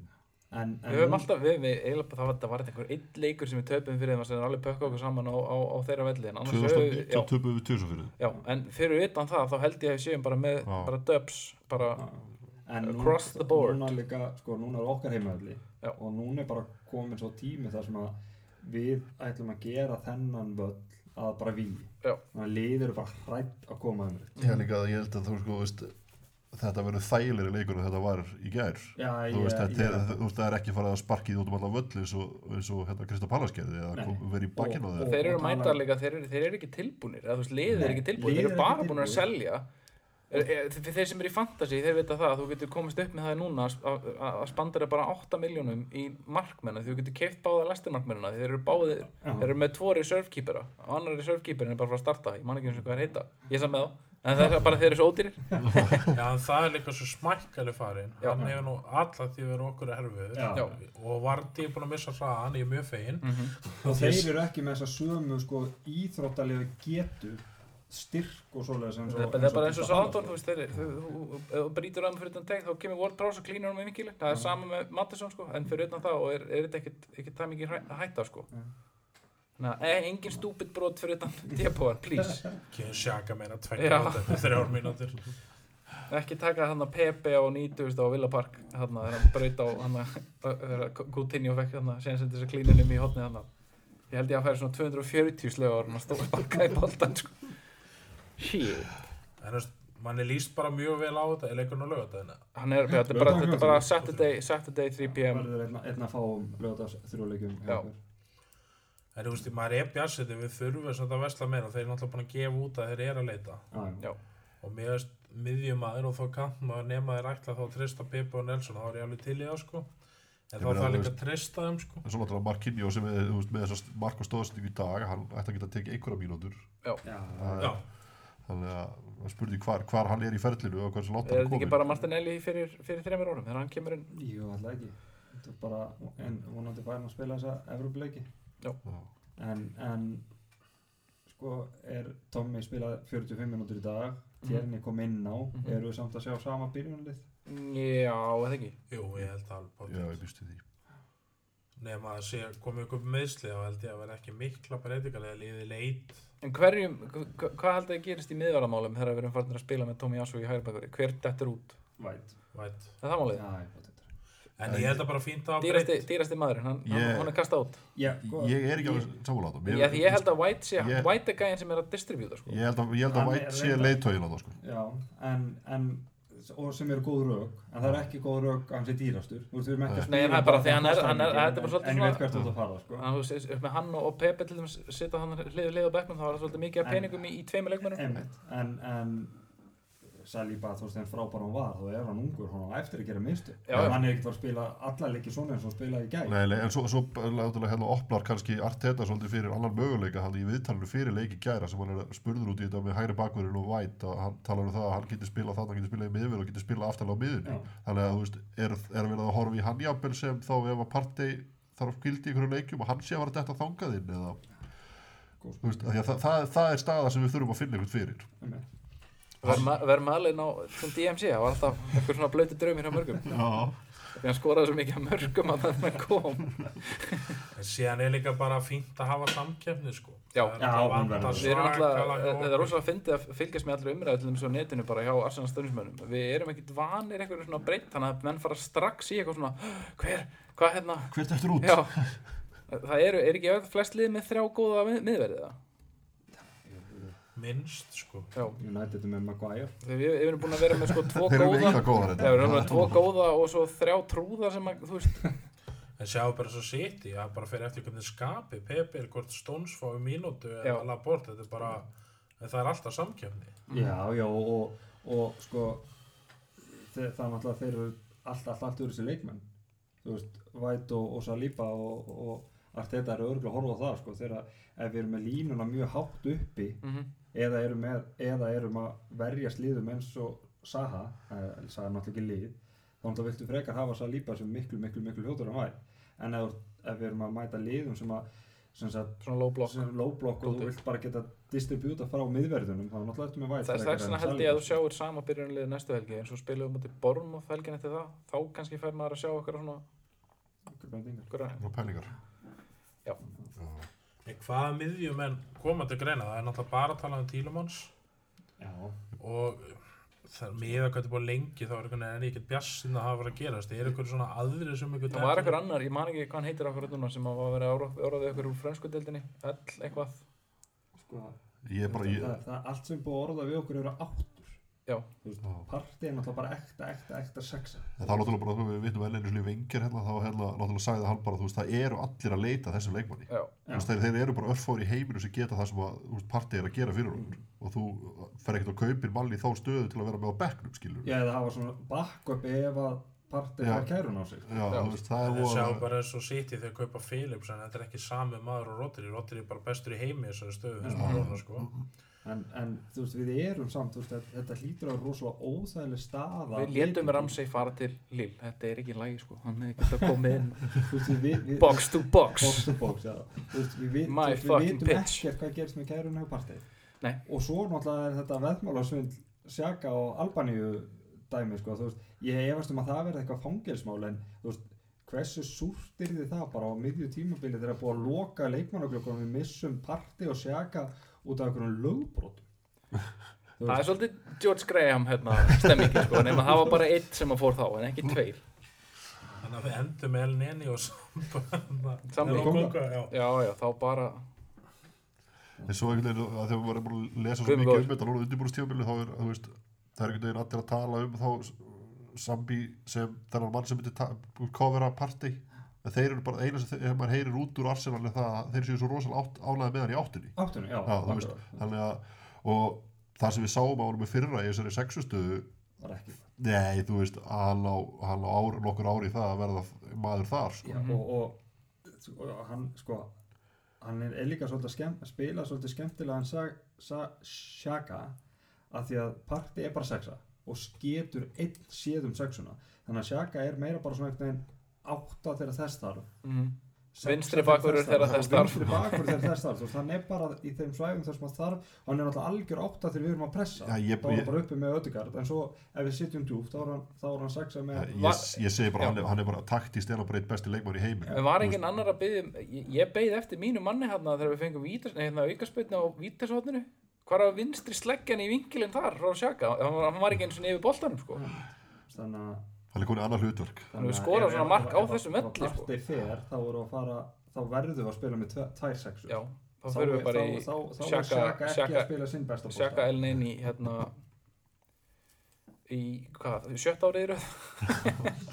Speaker 1: en, en
Speaker 2: Við höfum alltaf, við, við eiginlega það var, það var einhver einn leikur sem við töpum fyrir þeim sem er alveg pökka okkur saman á, á, á þeirra velli en annars höfum við,
Speaker 3: 2019
Speaker 2: já,
Speaker 3: töpum við tjóðsum fyrir
Speaker 2: já, en fyrir utan það þá held ég að við séum bara með,
Speaker 3: Já.
Speaker 2: bara dubs, bara,
Speaker 1: en nú-
Speaker 2: Across the board.
Speaker 1: núna líka, sko, núna er okkar heimaðli
Speaker 2: Já.
Speaker 1: og núna er bara komin svo tími þar sem að við ætlum að gera þennan völl að bara við
Speaker 2: Já.
Speaker 1: þannig að liðir eru bara hrætt að koma þeim upp.
Speaker 3: Ég held líka að ég held að þú sko veist, þetta verður þægilegri leikur en þetta var í gær
Speaker 1: já,
Speaker 3: þú veist,
Speaker 1: ég,
Speaker 3: þetta er,
Speaker 1: ég,
Speaker 3: þú veist, það er ekki farið að sparkið út um alla völlu eins og, eins og hérna Krista Pallas gerði eða
Speaker 1: Nei.
Speaker 3: kom, verið í bakkinn á
Speaker 1: Og-
Speaker 3: þeir
Speaker 1: og-
Speaker 2: þeir eru
Speaker 1: tala-
Speaker 2: mætarleika, þeir eru, þeir eru ekki tilbúnir eða þú veist, liðið er
Speaker 1: Nei,
Speaker 2: ekki tilbúnir,
Speaker 1: liðið er
Speaker 2: þeir eru
Speaker 1: ekki
Speaker 2: bara búnir að
Speaker 1: tilbúið.
Speaker 2: selja Er- er- þeir þeir sem eru í fantasy, þeir vita það að þú getur komist upp með það núna að- að að spandara bara 8 miljónum í markmennu, þú getur keift báða lestirmarkmennuna, þeir eru báðir
Speaker 1: Já.
Speaker 2: þeir eru með tvo reservekeepera og annar reservekeeperin er bara frá að starta, ég man ekki eins og hvað er heita ég sem með þá, en það er bara þeir eru svo ódýrir
Speaker 4: Já, en það er líka svo smækkali farin
Speaker 2: Já.
Speaker 4: hann hefur nú alla því verið okkur erfiður
Speaker 1: Já. Já.
Speaker 4: og Vardí er búin að missa hraðan ég er mjög fegin
Speaker 1: Mhm. og þeir eru ekki með þessa sömu sko, íþróttalega getu styrk og svoleiðis eins og-
Speaker 2: það er bara eins og
Speaker 1: Krista
Speaker 2: Sáton,
Speaker 1: Palace.
Speaker 2: þú veist, þeir eru- þú- þú- þú- ef þú brýtur aðeins fyrir utan teg, þá kemur Ward Prowse og klínur hann með vingilu, það er sama með Mattisson sko, en fyrir utan það og er, er þetta ekkert, ekkert það mikið hræ- hætta sko
Speaker 1: Nei.
Speaker 2: Ná, e, engin stúpid brot fyrir utan depóðan, please
Speaker 4: kynni sjaka
Speaker 2: Já.
Speaker 4: meina tvekja þrjár mínútur
Speaker 2: ekki taka hann að Pepe á 90 á Villa Park, hann að hann braut á hann að Coutinho fekk hann að séðan sem þess að klínur um í hotni hann ég held ég að færi svona 240 slög ára hann að stóra sparka í boltan sko shit
Speaker 4: en þú veist, manni líst bara mjög vel á þetta er leikurinn á lögatæðina
Speaker 2: hann er, þetta er bara, þetta er bara
Speaker 1: sko.
Speaker 2: Saturday, Saturday 3 p.m.
Speaker 1: verður einn- einn að fá um lögadags þrjóleikjum hjá
Speaker 2: Já.
Speaker 1: okkur.
Speaker 4: en þú veist, maður er bjarsið við þurfum samt að vesla meira þeir eru náttúrulega búin að gefa út að þeir eru að leita
Speaker 1: Já, já.
Speaker 4: og mér veist miðjumæður og þá kantmaður nema þeir ætla þá að treysta Pippi og Nelson þá er ég alveg til í það sko en
Speaker 3: Ég meina,
Speaker 4: þá þarf
Speaker 3: þú
Speaker 4: líka að treysta þeim sko
Speaker 3: en svo náttúrulega Markinjó sem er, þú veist, með þessast mark og stóðsendingu í dag hann ætti að geta tekið einhverja mínútur
Speaker 1: Já.
Speaker 4: já,
Speaker 3: þannig að það spurði hvar, hvar hann er í ferlinu og hversu látt
Speaker 2: Er þetta
Speaker 3: hann er
Speaker 2: ekki
Speaker 3: komin
Speaker 2: bara Martinelli fyrir, fyrir þreymur árum þegar hann kemur inn?
Speaker 1: Jú, alltaf ekki. Þetta er bara, en vonandi fær hann að spila þessa Evrópuleiki.
Speaker 3: Já.
Speaker 1: En, en, sko, er Tommy spilað 45 minútur í dag, Tjerni kom inn á,
Speaker 2: Mhm.
Speaker 1: eru við samt að sjá sama byrjunarlið?
Speaker 2: Já, eða ekki.
Speaker 4: jú, ég held að
Speaker 3: já,
Speaker 4: alveg
Speaker 3: ég býst við því
Speaker 4: nema að sé komið ykkur meðsli þá held ég að vera ekki mikla breytingar eða liði leit
Speaker 2: En hverjum, hva- hva- hvað heldur að gerist í miðvarðamálum þegar við erum farin að spila með Tommy Jasso í hægirbakur? Hver dettur út?
Speaker 1: Væt.
Speaker 4: væt.
Speaker 2: Er það
Speaker 1: Já,
Speaker 2: málið?
Speaker 1: ég fótt þetta.
Speaker 4: en ég held að bara fínt að breyta
Speaker 2: Dýrasti, dýrasti maðurinn, hann,
Speaker 3: Ég-
Speaker 2: hann, hann er kastað út.
Speaker 1: Já, sko,
Speaker 3: ég er ekki alveg samanlátt
Speaker 2: Ég, ég, ég held að White sé,
Speaker 3: ég-
Speaker 2: White er gæðin sem er að distribúta sko.
Speaker 3: ég held að, ég held að
Speaker 1: Hann er
Speaker 3: White sé
Speaker 1: reyndar-
Speaker 3: leiðtógin á það sko
Speaker 1: já, en, en, og sem eru góð rauk, en það er ekki góð rauk að hann sé dýrastur. Þú veist, við erum ekki að
Speaker 2: Nei,
Speaker 1: spila
Speaker 2: en það er bara því
Speaker 1: þann
Speaker 2: hann er- hann er-
Speaker 1: kostnaðarmikið,
Speaker 2: þetta er bara
Speaker 1: en-
Speaker 2: svolítið
Speaker 1: En ég veit
Speaker 2: svona-
Speaker 1: hvert þú ert að fara, sko.
Speaker 2: Þannig að þú veist, upp með hann og- og Pepe til dæmis setja hann hlið hlið á bekknum, þá var það svolítið mikið af
Speaker 1: En-
Speaker 2: peningum í, í tveimur leikmennum.
Speaker 1: Einmitt, en, en Saliba, þú veist, þeim frábær hann var, þá er hann ungur, hann á eftir að gera mistu.
Speaker 2: Já, já.
Speaker 1: Hann er ekkert að spila alla leiki svona eins og hann spilaði í gæð.
Speaker 3: Nei, nei, en svo, svo látulega hérna opnar kannski Arteta svolítið fyrir annan möguleika hann í viðtalinu fyrir leiki gæra sem hann er spurður út í þetta með hægri bakverðin og væt að hann talar um það að hann getur spilað þarna, hann getur spilað í miðverð og getur spilað aftalega á miðunni
Speaker 1: Já.
Speaker 3: þannig að þú veist, er, er verið að horfa í hann jafnvel sem þá ef að partey þarf gildi í einhverju leikjum og hann sé að vera þetta þangað inn eða,
Speaker 1: Góð
Speaker 3: þú veist, af því að það, það, það er staða sem við þurfum að finna einhvern fyrir
Speaker 1: Einmitt.
Speaker 2: Verðum aðlegin á svona DMC, það var alltaf eitthvað svona blöti draumir á mörgum.
Speaker 3: Já,
Speaker 2: Því hann skoraði svo mikið af mörgum að þannig að kom.
Speaker 4: en síðan er líka bara fínt að hafa samkeppni sko
Speaker 2: Já.
Speaker 4: Það er
Speaker 1: Já,
Speaker 4: alltaf
Speaker 1: hún
Speaker 4: vandað
Speaker 1: verður.
Speaker 2: Við erum alltaf,
Speaker 4: svakalega
Speaker 2: það er
Speaker 4: hópur.
Speaker 2: rosalega fyndið að fylgjast með allra umræðu til dæmis á netinu bara hjá Arsenal stöðnismönnum. Við erum ekkert vanir einhverjum svona breytt, þannig að menn fara strax í eitthvað svona, hver, hvað hérna,
Speaker 3: hvert eftir út
Speaker 2: já. Það eru, er ekki öll flest lið með þrjá góða mið, miðverðið það?
Speaker 4: minnst sko
Speaker 2: Já,
Speaker 1: United er með Maguire.
Speaker 2: þegar við, við erum búin að vera með sko tvo
Speaker 3: Þeir eru
Speaker 2: góða,
Speaker 3: eiginlega góðar
Speaker 2: já, við erum
Speaker 3: þetta
Speaker 2: með tvo góða og svo þrjá trúða sem að, þú veist,
Speaker 4: En sjáu bara svo City, það bara fyrir eftir hvernig skapi, Pepir, hvort Stones fái mínútu
Speaker 2: Já.
Speaker 4: eða Labort, þetta er bara, en það er alltaf samkjöfni.
Speaker 2: Mhm.
Speaker 1: Já, já, og, og, og sko, þe- það er náttúrulega þeir eru allt, allt, allt úr þessi leikmenn. Þú veist, Væt og, og Saliba og, og allt þetta eru örgulega að horfa á það, sko. Þegar að- ef við erum með línuna mjög hátt uppi,
Speaker 2: mhm,
Speaker 1: eða erum, með, eða erum að verja slíðum eins og Saha, eh, Saha er náttúrulega ekki lið þá náttúrulega viltu frekar hafa Saliba sem miklu, miklu, miklu hljótur en væri en ef, ef við erum að mæta liðum sem að sem sagt,
Speaker 2: svona low block.
Speaker 1: sem low block og
Speaker 2: Gótur.
Speaker 1: þú vilt bara geta distribúta frá miðverðunum þá náttúrulega ertu með væri
Speaker 2: Það er þess vegna held ég að þú sjáir sama byrjunarlið næstu helgi eins og spilum við mútið Borm og helgin eftir það þá kannski fær maður að sjá okkar svona
Speaker 1: brendingar.
Speaker 2: Græn.
Speaker 3: og penningar
Speaker 2: Já.
Speaker 4: En hvaða miðjumenn koma til greina? Það er náttúrulega bara að tala um Tílumanns
Speaker 1: Já,
Speaker 4: og það er miða hvað þetta er búið lengi þá er einhvern veginn ekkert bjassinn að hafa verið að gerast. Er einhver svona aðri sem einhvern
Speaker 2: Það var einhver annar, ég man ekki hvað hann heitir akkurat núna sem að var að vera ára- áraðið ykkur úr frönsku deildinni, öll eitthvað.
Speaker 1: sko,
Speaker 3: ég er bara ég,
Speaker 1: það, það er allt sem er búið að orða við okkur eru áttur.
Speaker 2: Já.
Speaker 1: Þú veist,
Speaker 3: Já.
Speaker 1: partí er náttúrulega bara ekta, ekta, ekta sexa.
Speaker 3: en það er náttúrulega bara við vittum enn einu slíf vengir hérna þá hérna náttúrulega sagði hann bara þú veist það eru allir að leita að þessum leikmanni
Speaker 2: Já,
Speaker 1: Já.
Speaker 3: Þú veist, þeir, þeir eru bara örfári í heiminu sem geta það sem að þú veist, partið er að gera fyrir okkur og þú fer ekkert og kaupir mann í þá stöðu til að vera með á bekknum skilur
Speaker 1: Já, eða hafa svona backup ef að partí
Speaker 3: Já.
Speaker 1: fær kærun á sig.
Speaker 3: Já,
Speaker 2: Já.
Speaker 3: þú veist, það er
Speaker 4: Ég
Speaker 3: voða-
Speaker 4: sjá bara eins og City þegar kaupa Philips en þetta er ekki sami maður og Rodri. Rodri er bara bestur í heimi í þessari stöðu þessum
Speaker 1: Já.
Speaker 4: korona sko.
Speaker 1: En, en þú veist, við erum samt, þú veist, þetta- þetta hlýtur að rosalega óþægileg staða.
Speaker 2: við létum Ramsey fara til Lill, þetta er ekki lægi sko, hann hefði getað komið inn,
Speaker 1: Þú veist, við- við- við-
Speaker 2: box to box.
Speaker 1: box to box já. Þú veist, við, vit, þú
Speaker 2: My
Speaker 1: veist, við
Speaker 2: fucking
Speaker 1: vitum
Speaker 2: bitch.
Speaker 1: ekkert hvað gerist með kærun og partí
Speaker 2: Nei.
Speaker 1: og svo náttúrulega er þetta veðmálasvind Sjaka og Albaníu dæmi sko, þú veist, ég efast um að það verði eitthvað fangelsmál en þú veist hversu súrt er þið það bara á miðju tímabili þegar búið að loka leikmannaglökunum við missum partí og Sjaka út af einhverjum lögbrotum Þú
Speaker 2: Það er
Speaker 1: veist,
Speaker 2: svolítið George Graham hérna stemmingi sko, nema það var bara eitt sem að fór þá en ekki tveir.
Speaker 4: Þannig að við endum með El Neni og Samba.
Speaker 2: Samba.
Speaker 4: Nei, Konga, já.
Speaker 2: Já, já, þá bara,
Speaker 3: En svo einhvern veginn að þegar maður er búin að lesa svo
Speaker 2: Guð minn
Speaker 3: mikið
Speaker 2: góður.
Speaker 3: um þetta núna undirbúrstífambilið þá er, þú veist, það er einhvern veginn allir að tala um þá sambi sem þennan mann sem myndi ta- covera party en þeir eru bara eina sem þeir- ef maður heyrir út úr Arsenal er það að þeir séu svo rosalega átt, álæði með hann í áttunni
Speaker 1: áttunni, já,
Speaker 3: Já, þú veist, þannig að og það sem við sáum á honum í fyrra í þessari sexustöðu
Speaker 1: var ekki
Speaker 3: nei, þú veist, hann á, hann á ár, nokkur ári í það að verða maður þar sko.
Speaker 1: Já,
Speaker 2: Mhm.
Speaker 1: og, og, og hann sko hann er líka svolítið að skemm, spila svolítið skemmtilega hann sa, sa, Shaka að því að parti er bara sexa og sketur einn séð um sexuna þannig að Shaka er meira bara svona einhvern veginn átta þegar þess þarf
Speaker 2: mhm.
Speaker 1: sexa
Speaker 2: Vinstri bakvörður
Speaker 1: þess þarf,
Speaker 2: þegar þess þarf.
Speaker 1: vinstri bakvörður þegar þess þarf þú veist, hann er bara í þeim svæfum þar sem hann þarf og hann er náttúrulega algjör átta þegar við erum að pressa
Speaker 3: Já, ég-
Speaker 1: þá er
Speaker 3: ég-
Speaker 1: hann bara uppi með ödugard en svo ef við sitjum djúpt þá er hann, þá er hann sexa með
Speaker 3: Eh, ég,
Speaker 2: Va-
Speaker 3: ég, ég segi bara,
Speaker 2: Já.
Speaker 3: hann er, hann er bara taktist eða bara eitt besti leikmar í heiminn
Speaker 2: En var enginn annar að byggja, ég, ég beigði eftir mínu manni hérna þegar við fengum vítas, nei, hérna, aukaspilna á vítasotninu. Hvar var vinstri sleggjan í vingilinn þar, frá Sjaka? Hann var- hann var ekki eins og yfir boltanum, sko.
Speaker 1: þannig að
Speaker 3: hann er konið annað hlutverk
Speaker 2: Þannig að við skora svona mark á þessum velli,
Speaker 1: sko.
Speaker 2: sko.
Speaker 1: Partey fer, þá erum við að fara, þá verðum við að spila með tve- tvær sexu.
Speaker 2: Já, þá fyrir við bara í
Speaker 1: þá, þá, þá er
Speaker 2: Xhaka-
Speaker 1: Sjaka ekki
Speaker 2: Xhaka-
Speaker 1: að spila sinn besta
Speaker 2: Sjaka Elnin í, hérna, í, hvað, sjött árið í röð?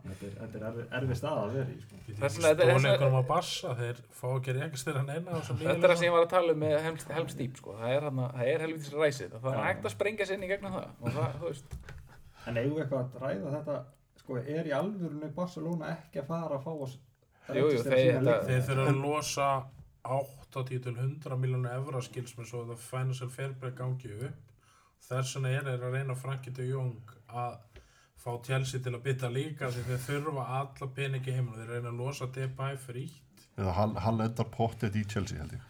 Speaker 1: Þetta er, þetta er erfi, erfi staða að vera í, sko.
Speaker 4: Ég
Speaker 2: Þess
Speaker 4: veit
Speaker 2: vegna-
Speaker 4: ekki
Speaker 2: þetta er-
Speaker 4: stóla einhverjum að bassa, þeir fá ekki rekast þeirra neina og svo
Speaker 2: Þetta er það sem ég var að tala um með helmst, helmst dýp, sko. Það er, hana, það er helvitis ræsið. Það er
Speaker 1: Já.
Speaker 2: hægt að sprengja sér inn í gegnum það. Og það, þú veist,
Speaker 1: En eigum við eitthvað að ræða þetta, sko, er í alvörunni Barcelona ekki að fara að fá oss
Speaker 2: Jú, jú, þeir- þetta-
Speaker 4: Þeir þurfa að losa 80 til 100 miljónu evra skils með svo að það financial fair play gangi upp þess vegna er þeir að reyna Franki de Jong að fá Chelsea til að bytta líka því þeir þurfa alla peningi heimur þeir reyna að losa Depay frítt
Speaker 3: eða hann, hann endar pottet í Chelsea held ég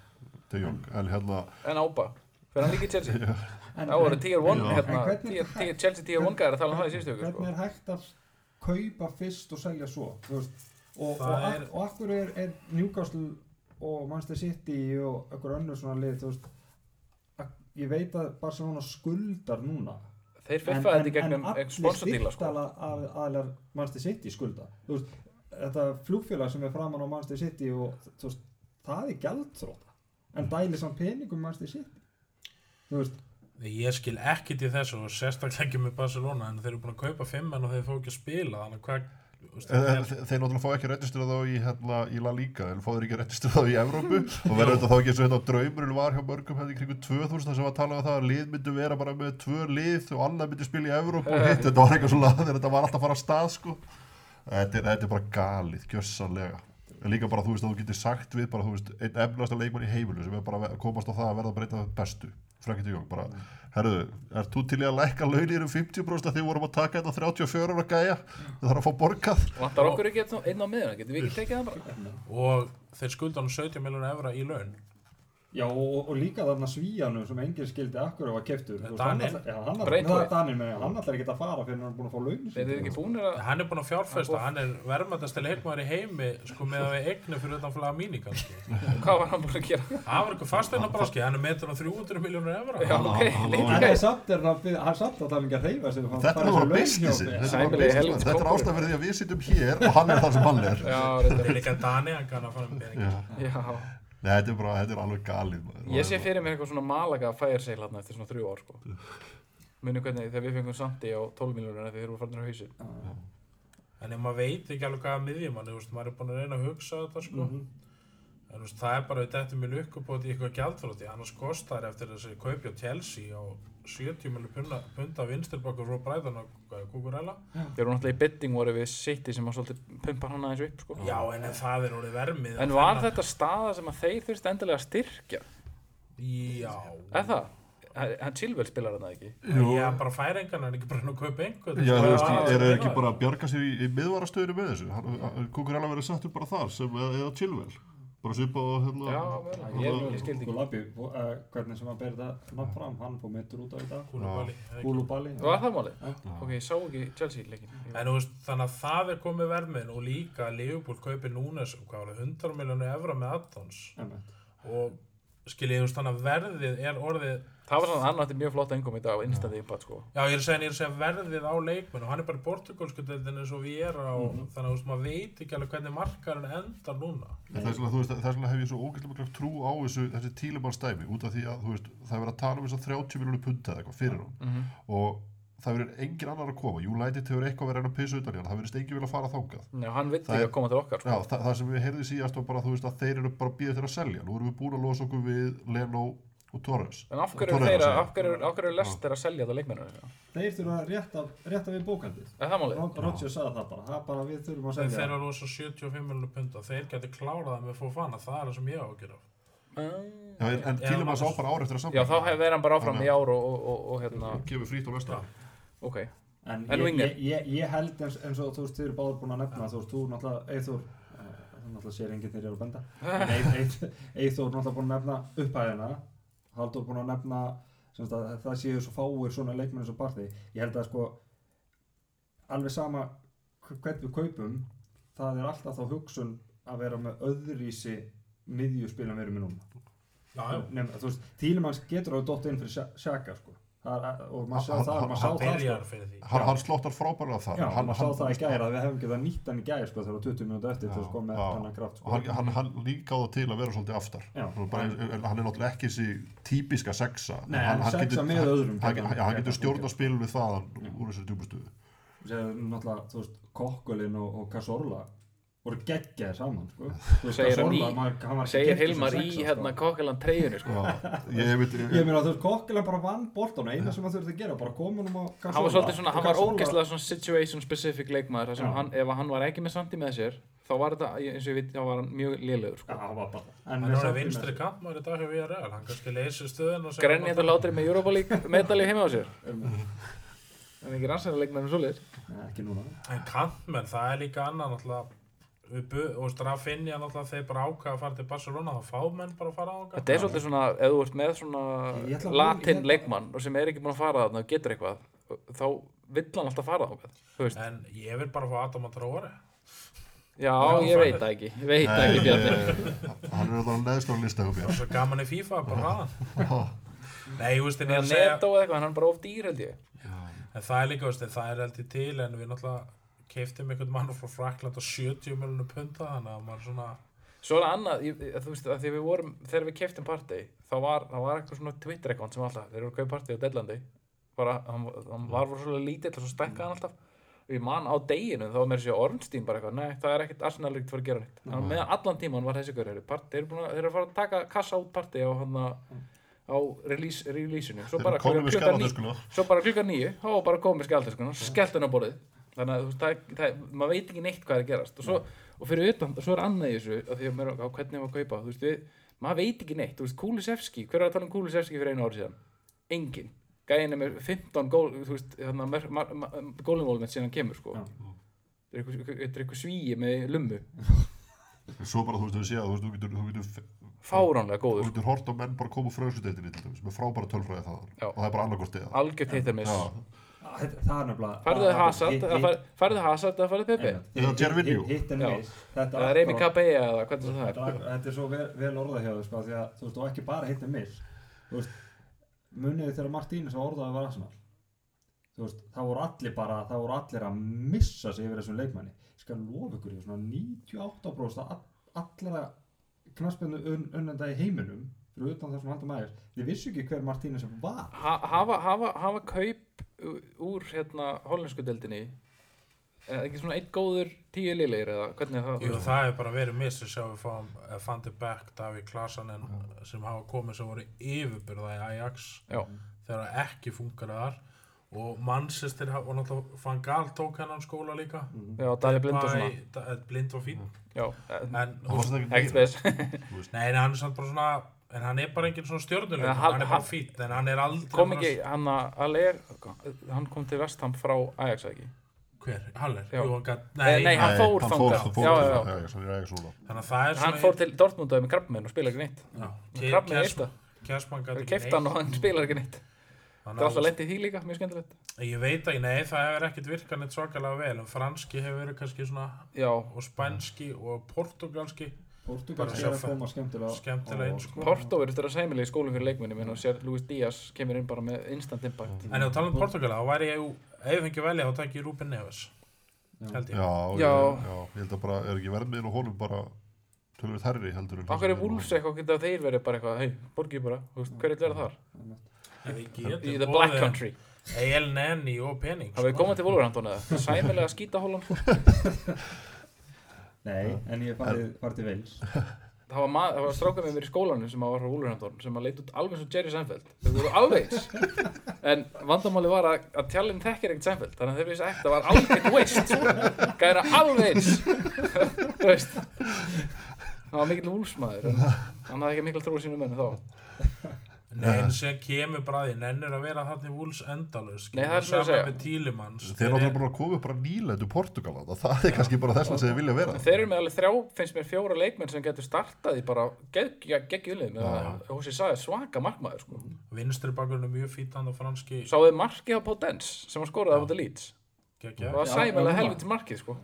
Speaker 3: De Jong, en hérna
Speaker 2: en ába. Fyrir hann líka í Chelsea.
Speaker 1: En,
Speaker 2: Það voru
Speaker 1: en,
Speaker 2: tier 1,
Speaker 3: Já.
Speaker 2: hérna,
Speaker 1: En hvernig-
Speaker 2: tier, tier, Chelsea tier 1 gæðar að tala um það í síðustu viku,
Speaker 1: hvernig
Speaker 2: sko.
Speaker 1: er hægt að kaupa fyrst og selja svo, þú veist? Og, og,
Speaker 4: Það
Speaker 1: og,
Speaker 4: er-
Speaker 1: er... og akkur er, er Newcastle og Manchester City og einhver önnur svona lið, þú veist, að, ég veit að Barcelona skuldar núna
Speaker 2: Þeir
Speaker 1: En-
Speaker 2: feffaði þetta í
Speaker 1: en- en
Speaker 2: gegnum
Speaker 1: allir
Speaker 2: sponsordíla, sko.
Speaker 1: styrktala- að- aðilar Manchester City skulda Þú veist, þetta flugfélag sem er framan á Manchester City og þú veist, það er gjaldþróta en dæli samt peningum Manchester City þú veist,
Speaker 4: Því ég skil ekkit í þessu og sérstaklega ekki með Barcelona en þeir eru búin að kaupa 5 en þeir fá ekki að spila þannig að hvað þú
Speaker 3: En,
Speaker 4: veist, þetta
Speaker 3: en,
Speaker 4: er-
Speaker 3: Eh, þe- þeir náttúrulega fá ekki að registrera þá í, hérna, í La Liga, en fá þeir ekki að registrera þá í Evrópu og verður þetta þá ekki eins og hérna draumurinn var hjá mörgum hérna í kringum 2000 þar sem var að tala um það að lið myndu vera bara með tvö lið og annað myndu spila í Evrópu og hitt, þetta var eitthvað svona þegar þetta var alltaf að fara að stað sko. þetta, er, þetta er bara galið, gjössanlega en líka bara þú veist að þú getur sagt við bara þú veist, einn efnilegasta leikmann í heimilu sem er bara að komast á það að verða bara einn af þeim bestu Frankie de Jong, bara, herruðu, er þú til í að lækka launir um 50% að þið vorum að taka þetta 34 ára gæja, það þarf að fá borgað
Speaker 2: Vantar okkur ekki einn á- einn á miðuna, getum við ekki tekið það bara?
Speaker 4: og þeir skulda hann 70 miljónu evra í laun
Speaker 1: Já, og, og líka þarna svíjanum sem enginn skildi akkur að var keftur.
Speaker 4: Með
Speaker 1: Þú veist, hann
Speaker 4: Daninn.
Speaker 1: ætlar- Já, hann ætlar,
Speaker 2: Braithwaite.
Speaker 1: neða, Danin, meni, hann ætlar ekki að fara fyrir hann er búin að fá launin
Speaker 2: Þeir eru ekki búinir að
Speaker 4: Hann er búinn að fjárfesta,
Speaker 2: Hann-
Speaker 4: hann er verðmættasti leikmaður í heimi sko með að við eignu fyrir utan flaga mínu kannski.
Speaker 2: Hvað var hann búin að gera?
Speaker 4: Hann var eitthvað fasteina broski, hann er metur á 300 miljónur evra.
Speaker 2: Já, ok,
Speaker 3: hann-
Speaker 2: lengi
Speaker 1: Hann er
Speaker 2: gæs
Speaker 1: samt er hann hann er samt að það er ekki að reyfa sig. hann
Speaker 3: Þetta
Speaker 1: fari
Speaker 3: er
Speaker 1: þessu
Speaker 3: bara
Speaker 1: laun hjá
Speaker 3: businessin,
Speaker 1: okkur.
Speaker 3: þetta er bara
Speaker 2: Sæmilega
Speaker 3: businessin,
Speaker 2: helviti
Speaker 3: þetta er
Speaker 2: kóngur.
Speaker 3: ástæð fyrir því að við sitjum hér og hann er þar sem hann er.
Speaker 2: Já, reyndar
Speaker 4: Það er líka Dani, hann kann að fara með pening.
Speaker 3: Já.
Speaker 2: Já,
Speaker 3: Nei, þetta er bara, þetta er alveg galið maður.
Speaker 2: ég sé fyrir mér eitthvað svona Malaga fire sale hann eftir svona þrjú ár sko Muni hvernig þegar við fengum Santi á 12 miljónur þegar þeir eru farin á hausin
Speaker 1: Já.
Speaker 4: En ef maður veit ekki alveg hvaða miðjum hann, veist, maður er búinn að reyna að hugsa þetta sko.
Speaker 1: Mhm.
Speaker 4: En þú veist, það er bara við dættum í lukkupóti í eitthvað gjaldfróti, annars kostar eftir þessi kaupi á Chelsea á 70 miljónur punda, punda vinstirbakur frá Bræðan og Kukurella.
Speaker 2: Þeir eru náttúrulega í bidding voru við City sem að svolítið pumpa hann aðeins upp sko
Speaker 4: Já, en það er orðið vermið.
Speaker 2: En var þetta staða sem að þeir þurfti endilega að styrkja?
Speaker 4: Já.
Speaker 2: Er það? Hann hann Chilwell spilar hann það ekki?
Speaker 3: Jú.
Speaker 4: Já, bara færa engan, hann er ekki bara hann að kaupa einhvern.
Speaker 3: Já, þú
Speaker 4: Bara-
Speaker 3: veist,
Speaker 2: Já,
Speaker 3: eru
Speaker 2: já,
Speaker 3: þeir ekki
Speaker 2: já.
Speaker 3: bara að bjarga sér í, í miðvarastöðinu með þessu? Kukurella verið settur bara þar sem, eða, eða Chilwell. Bara svipa og hérna...
Speaker 2: Já, vel, ég, ég
Speaker 1: Sko
Speaker 2: skildi ekki
Speaker 1: Labi, eh, hvernig sem hann ber þetta nafn fram, hann fór meittur út af þetta.
Speaker 4: Kúlubali, eða ekki.
Speaker 1: Gúlubali.
Speaker 2: Var það málið?
Speaker 1: Já.
Speaker 2: Ok, ég sá ekki Chelsea leikin
Speaker 4: En þú veist, þannig að það er komið vermiðin og líka að Liverpool kaupi núna sem hvað var það, 100 miljónu evra með addons og skiljið, þú veist, þannig að verðið er orðið
Speaker 2: Það var svona hann átti mjög flott engum í dag á instant impact sko
Speaker 4: Já, ég er að segja, ég er að segja verðið á leikmenn og hann er bara í portugalsku deildin eins og við erum og þannig að þú veist, maður veit ekki alveg hvernig markarinn endar núna
Speaker 3: En Þess vegna, þú veist, þess vegna hef ég svo ógæslega mikla trú á þessu, þessi tílemanns dæmi út af því að, þú veist, það er verið að tala um þess að 30 miljónu punta eða eitthvað fyrir hún og það verður engin annar að koma, United hefur eitthvað verið að reyna að pissa utan í hann, það verðist engin vilja að fara þangað
Speaker 2: Já, hann vill
Speaker 3: Það
Speaker 2: ekki
Speaker 3: er-
Speaker 2: að koma til okkar
Speaker 3: Já,
Speaker 2: sko
Speaker 3: þa það sem við heyrðum síðast var bara, þú veist, að þeir eru bara býðið þeirra að selja, nú erum við búin að losa okkur við Leno og Torres
Speaker 2: En af hverju
Speaker 3: Torreira,
Speaker 2: er þeirra,
Speaker 3: segi ég.
Speaker 2: af hverju, af hverju er lest þeirra að selja þetta leikmennir?
Speaker 1: Þeir þurfa að rétta, rétta við bókaldið.
Speaker 2: Er það málið?
Speaker 1: Roger sagði það bara, það bara við þurfum að
Speaker 4: Þeir
Speaker 1: segja.
Speaker 4: þeirra rosa 75 miljónu punda, þeir getur klárað það með Fofana, það er það sem ég á að gera
Speaker 3: Já, en, en
Speaker 4: Já,
Speaker 3: Tílemann sá
Speaker 4: Magnús.
Speaker 3: bara ár eftir að
Speaker 2: Já,
Speaker 3: samla
Speaker 2: þá hefur þeirra bara áfram
Speaker 3: Þannig
Speaker 2: í ár og, og, og, og hérna
Speaker 3: gefið frýtt á næsta
Speaker 4: Já.
Speaker 2: Ok,
Speaker 1: En
Speaker 2: En
Speaker 1: ég,
Speaker 2: Winger?
Speaker 1: ég, ég, ég held eins, eins og þú veist, þið eru báður búin að nefna, þú veist, þú náttúrulega, Eithor, þú náttúrulega sér enginn þegar ég er að benda, en Eith- Eith- Eithor náttúrulega búin að nefna upphæðina, Haldur búin að nefna, sem sagt að það séu svo fáir svona leikmenn eins og barði, ég held að sko, alveg sama hvern við kaupum, það er alltaf þá hugsun að vera með öðrísi miðjuspilum við erum með núna.
Speaker 4: Já, já,
Speaker 1: Nefna, þú veist, Tílimanns getur að dotta inn fyrir Sha- Shaka, sko. Það er, og maður sá
Speaker 3: Hann-
Speaker 1: það, maður sá
Speaker 4: hann
Speaker 1: það, sko.
Speaker 4: byrjar fyrir því
Speaker 3: Hann, hann slóttar frábæra það
Speaker 1: Já,
Speaker 3: hann,
Speaker 1: hann sá það í gæri að við hefum getað nýtt hann í gæri sko þegar það var 20 minúti eftir
Speaker 3: Já,
Speaker 1: til að sko með
Speaker 3: já.
Speaker 1: hann að kraft
Speaker 3: og
Speaker 1: sko.
Speaker 3: hann, hann, hann líka á það til að vera svolítið aftar
Speaker 1: Já.
Speaker 3: Nú bara, en hann er náttúrulega ekki þessi típiska sexa
Speaker 1: Nei, hann sexa með
Speaker 3: hann-
Speaker 1: öðrum
Speaker 3: hann,
Speaker 1: getur hann-
Speaker 3: hann, já, hann
Speaker 1: getur hann
Speaker 3: getur stjórna spilum við það úr þessari djúbustuðu
Speaker 1: Sér, náttúrulega, þú veist, Kokkulinn og, og Casorla voru geggjaði saman sko. Þú veist,
Speaker 2: Segir hann
Speaker 1: Cazorla,
Speaker 2: í-
Speaker 1: maður- hann var ekki
Speaker 2: segir
Speaker 1: keyptur sem
Speaker 2: Hilmar í
Speaker 1: sexa,
Speaker 2: hérna
Speaker 1: sko.
Speaker 2: kokkelan treyjunni sko
Speaker 3: ég veit
Speaker 1: Ég meina, þú veist, Kokkulinn bara vann bortana eina sem hann þurfti að gera, bara koma hann á Casorla
Speaker 2: Hann var svolítið svona,
Speaker 1: og
Speaker 2: hann var
Speaker 1: Cazorla-
Speaker 2: ógeðslega svona situation specific leikmaður þar sem
Speaker 1: Já.
Speaker 2: hann, ef hann var ekki með Santi með sér þá var þetta, eins og ég veit, þá var hann mjög
Speaker 1: Já,
Speaker 2: lélegur sko.
Speaker 1: hann var bara
Speaker 4: Hann er
Speaker 1: samt
Speaker 4: að
Speaker 1: í
Speaker 4: vinstri
Speaker 1: með-
Speaker 4: kantmaður í dag hjá VRL, hann kannski leysir stöðun og
Speaker 2: Grenni þetta látri með Europa League medalju heima á sér En ekki rannsæðan leikmaður um svoleiðis
Speaker 1: um, Nei, ekki núna
Speaker 4: En kantmenn, það er líka annað náttúrulega við bu- og Strafinja náttúrulega þeir bara ákvaða að fara til Barcelona þá fá menn bara að fara á
Speaker 2: Þetta er svolítið svona, ef þú ert með
Speaker 1: Ég
Speaker 2: svona
Speaker 1: ætla að-
Speaker 2: latin
Speaker 1: ég-
Speaker 2: leikmann og sem er ekki búin að fara þarna og getur eitthvað þá vill hann alltaf fara þarna Þú veist,
Speaker 4: En ég vil bara fá Adam að tróari
Speaker 2: já,
Speaker 4: Já,
Speaker 2: ég
Speaker 4: það-
Speaker 2: veit það ekki, ég veit það ekki Bjarni
Speaker 3: hann er náttúrulega neðst á lista hjá
Speaker 4: og
Speaker 3: mér
Speaker 4: svo gaman í FIFA, bara hraðan Nei, ég veist, en ég
Speaker 2: Það
Speaker 4: er að
Speaker 2: er
Speaker 4: segja
Speaker 2: netto eða eitthvað, en hann er bara of dýr held ég
Speaker 4: En það er líka, veist, en það er heldur til en við náttúrulega keiftum einhvern mann frá Frakland á 70 miljonum punta þannig að maður svona
Speaker 2: Svo er það annað, ég, þú veist, að því við vorum, þegar við keftum partí þá var, það var eitthvað svona Twitter ekkert sem alltaf, þeir eru að kaupa partí á Deadlandi bara, hann, hann var voru svolítið lítill og svo stekkaði hann alltaf og ég man á deginu, þá var meira sér Ornstein bara eitthvað, nei, það er ekkert Arsenal ekkert fyrir að gera neitt en meðan allan tíman var þessi gaur, partí, þeir eru búin að, þeir eru að fara að taka kassa út partí á hann á release, release-inu, svo
Speaker 3: Þeir
Speaker 2: bara
Speaker 3: eru komnir með
Speaker 2: klukkan níu-
Speaker 3: skjaladöskuna.
Speaker 2: svo bara klukkan nýju, þá var bara komið skjaldeskuna skellt henn á borðið þannig að þú veist, það, það, maður veit ekki neitt hvað er að gerast og, svo, og fyrir utan, svo er annað í þessu að því að maður, á hvernig maður kaupa þú veist, við, maður veit ekki neitt, þú veist, Kulisevski hver var að tala um Kulisevski fyrir einu ári síðan? Engin, gæðin er með 15 gól þú veist, þannig að gólumólum síðan hann kemur, sko
Speaker 1: Já.
Speaker 2: þetta er eitthvað- þetta er eitthvað svíi með lummu
Speaker 3: svo bara þú veist, þú séð að þú veist, þú getur, þú getur,
Speaker 2: fáránlega
Speaker 3: þú
Speaker 2: góður
Speaker 3: getur hort á menn bara koma úr fröðsudeildinni til dæmis, með frábæra tölfræði þaðan
Speaker 2: Já.
Speaker 3: og það er bara annarkort eða
Speaker 2: algjört hittarmiss
Speaker 3: Já.
Speaker 1: Þetta- Það er nefnilega
Speaker 2: færðu
Speaker 1: það-
Speaker 2: Hazard
Speaker 1: hitt-
Speaker 2: eða
Speaker 1: hitt-
Speaker 2: fær- færðu Hazard eða færðu Pepe
Speaker 3: Eða Gervinho.
Speaker 1: hitt- Hitt en
Speaker 2: Já.
Speaker 1: miss Þetta
Speaker 2: eða
Speaker 1: akkurat-
Speaker 2: Reymi Kabeja eða hvernig sem það er
Speaker 1: Dag- Þetta er svo vel, vel orðað hjá þér sko, því að þú veist, og ekki bara hitt en miss Þú veist, muniði þegar Martínez var orðaði var Arsenal Þú veist, það voru allir bara, það voru allir að missa sig yfir þessum leikmanni Ég skal lofa ykkur í svona 98% að all- allra knarspennu un, unnenda í heiminum fyrir utan þessum haldum aðeins Þið vissu ekki hver Martínez var
Speaker 2: Ha- hafa, hafa, hafa kaup ú- úr hérna hollensku deildinni eða ekki svona einn góður tíu liðleir eða hvernig er það
Speaker 4: Jú, það hefur bara verið missi sjá við fáum eh, Van de Beek, Davík Klasanen sem hafa komið sem voru yfirbyrða í Ajax
Speaker 2: Já.
Speaker 4: þegar það ekki funkar þar og Manchester ha- og náttúrulega Van Gaal tók hennan skóla líka
Speaker 2: já, Dali Blind og svona
Speaker 4: Bæ- Da- eh, blind var fín
Speaker 2: já, eh,
Speaker 4: en,
Speaker 3: það var
Speaker 4: þú-
Speaker 3: þetta ekki
Speaker 2: ekkert spes
Speaker 4: nei, en hann er samt bara svona en hann er bara enginn svona stjórnuleik
Speaker 2: En hann-
Speaker 4: hann er
Speaker 2: hann-
Speaker 4: bara fín, en hann er aldrei
Speaker 2: kom
Speaker 4: bara-
Speaker 2: ekki hann að Aller hann kom til Vestham frá Ajax eða ekki
Speaker 4: hver, Haller,
Speaker 2: Já.
Speaker 4: Jú, hann gat,
Speaker 2: Eh, nei, hann fór þangað.
Speaker 3: hann fór
Speaker 2: Já,
Speaker 3: til-
Speaker 2: já, já.
Speaker 3: já, já, svo er Ajax núna.
Speaker 4: þannig að það er
Speaker 2: hann fór til Dortmundaði með krabbmenn og spila ekki neitt krabbmenn er eitt
Speaker 4: Kjæsmann gæti
Speaker 2: það kefti hann og hann spilar ekki neitt það er alltaf lent í því líka, mjög skemmtilegt
Speaker 4: Ég veit ekki, nei, það hefur ekkert virkað neitt svakalega vel en franski hefur verið kannski svona
Speaker 2: já,
Speaker 4: og spænski
Speaker 2: Mm.
Speaker 4: og portugalski
Speaker 1: Portugal
Speaker 4: Bara
Speaker 1: er að
Speaker 4: sjá-
Speaker 1: koma skemmtilega
Speaker 4: skemmtilega inn, sko.
Speaker 2: Porto verður þetta sæmilega í skólum fyrir leikminni minn og sér Luis Díaz kemur inn bara með instant impact
Speaker 4: en ef þú tala um portugala, þá væri ég ef ég fengi að velja, þá tæk ég Ruben Neves held
Speaker 2: Mm.
Speaker 3: já,
Speaker 4: ég,
Speaker 2: Já.
Speaker 3: ég- já, ég held að bara er ekki verðmiðin og honum bara tölvöld herri heldur en það
Speaker 2: Akkur er
Speaker 3: sem
Speaker 2: Wolves
Speaker 3: honum.
Speaker 2: eitthvað, geta þeir verið bara eitthvað, hei, borgið bara, þú veist, hver er það þar?
Speaker 4: ef ég get
Speaker 2: Í the black country.
Speaker 4: El Nenni og pening
Speaker 2: Það við komað til Wolverhampton eða, sæmilega skýta Holland, sko.
Speaker 1: Nei, en ég farið, farið til Wales
Speaker 2: Það var, maður- það var strákað með mér í skólanum sem að var frá Wolverhampton, sem að leit út alveg eins og Jerry Seinfeld. Þau voru alveg eins. En vandamáli var að, að tjallinn þekkir ekkert Seinfeld, þannig að þeir vissi ekkert, það var alveg waste. Gæra alveg eins. Þú veist. Það var mikill Wolfsmaður, en hann hafði ekki mikil trú á sínum mönnum þá.
Speaker 4: sko. nei, en sem kemur bara að því, nennir að vera þarna í Wolves endalus
Speaker 2: Nei, það er sem ég að segja.
Speaker 4: með Tílimans
Speaker 3: þeir eru náttúrulega bara að koma upp bara nýlendu Portugala það- það er kannski bara þess að þeir vilja vera
Speaker 2: Þeir eru með alveg þrjá, finnst mér fjóra leikmenn sem getur startað í bara geggjulið með Hossi Sæði svaka markmaður sko.
Speaker 4: vinstri bakurinn er mjög fýtt hann og franski
Speaker 2: Sáðu markið á Potens sem hann skoraði á þetta lít
Speaker 4: geggja.
Speaker 2: Það var
Speaker 1: Já,
Speaker 2: sæmilega
Speaker 1: já,
Speaker 2: helviti markið sko.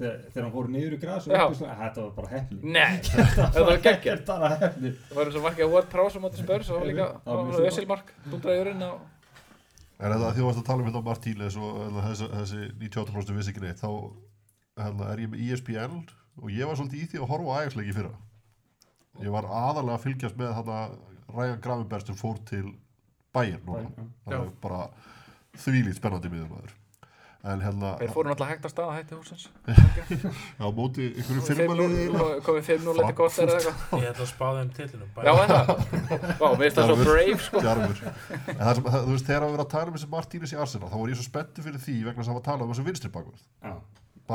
Speaker 1: þegar, þegar hann fór niður í græs og
Speaker 2: Já.
Speaker 1: upp í svona, þetta var bara hefni
Speaker 2: Nei, þetta var geggjað
Speaker 1: Þetta var bara hefni
Speaker 2: Það var eins og markið á Ward Prowse á móti spörs og líka
Speaker 1: Það var mjög
Speaker 2: var Ösilmark, dundraði urinn á
Speaker 3: En þetta að því að þú varst að tala um hérna Martínez og hérna, þessi, þessi 98% vissi ekki neitt, þá hérna, er ég með ESPN og ég var svolítið í því að horfa á ægjagsleiki fyrra. Ég var aðalega að fylgjast með þarna Rægan Gravenberg sem fór til Bayern núna.
Speaker 1: Bayern,
Speaker 3: Það er bara þvílít spennandi miðurmaður. En hérna,
Speaker 2: Þeir fóru náttúrulega hægt að staða hætti húsins
Speaker 3: á móti einhverju firmaliði eina.
Speaker 2: Komið 5-0 eftir kort eða eitthvað
Speaker 4: ég ætla að spáða um titlinum
Speaker 2: Já,
Speaker 4: bara
Speaker 2: er það Vá, mér finnst það svo brave sko
Speaker 3: Djarfur. En það sem, það, þú veist, þegar að vera að tala um þessi Martínez í Arsenal, þá var ég svo spenntu fyrir því vegna sem að tala um þessu vinstri bakvörð.
Speaker 1: Já,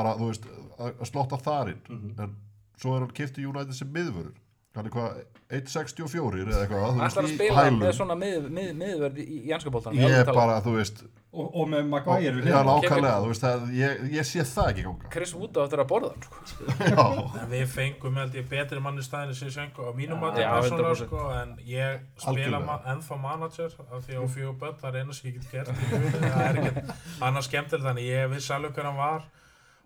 Speaker 3: bara, þú veist, að að slotta þarinn
Speaker 2: Mhm.
Speaker 3: en svo er hann kipti United sem miðvörur hann er hvað, 1.64 eða eitthvað, þú
Speaker 2: Ætlar að
Speaker 3: veist, í
Speaker 2: spila með
Speaker 3: hælum
Speaker 2: svona mið- mið- miðverð í janskapoltan
Speaker 3: ég er bara, þú veist
Speaker 1: og, og með Maguire við
Speaker 3: já,
Speaker 1: hliðina.
Speaker 3: nákvæmlega, þú veist, það, ég, ég sé það ekki ganga
Speaker 2: Chris Wood á eftir að borða hann sko.
Speaker 3: já,
Speaker 4: En við fengum held ég betri mann í staðinu sem Sjenko á mínum mati
Speaker 2: já,
Speaker 4: persónulega
Speaker 2: 100%.
Speaker 4: sko en ég spila
Speaker 3: Algjörlega.
Speaker 4: ma ennþá manager af því á fjögur börn það er eina sem ég get gert í lífinu, það er ekkert annars skemmtileg þannig ég vissi alveg hver hann var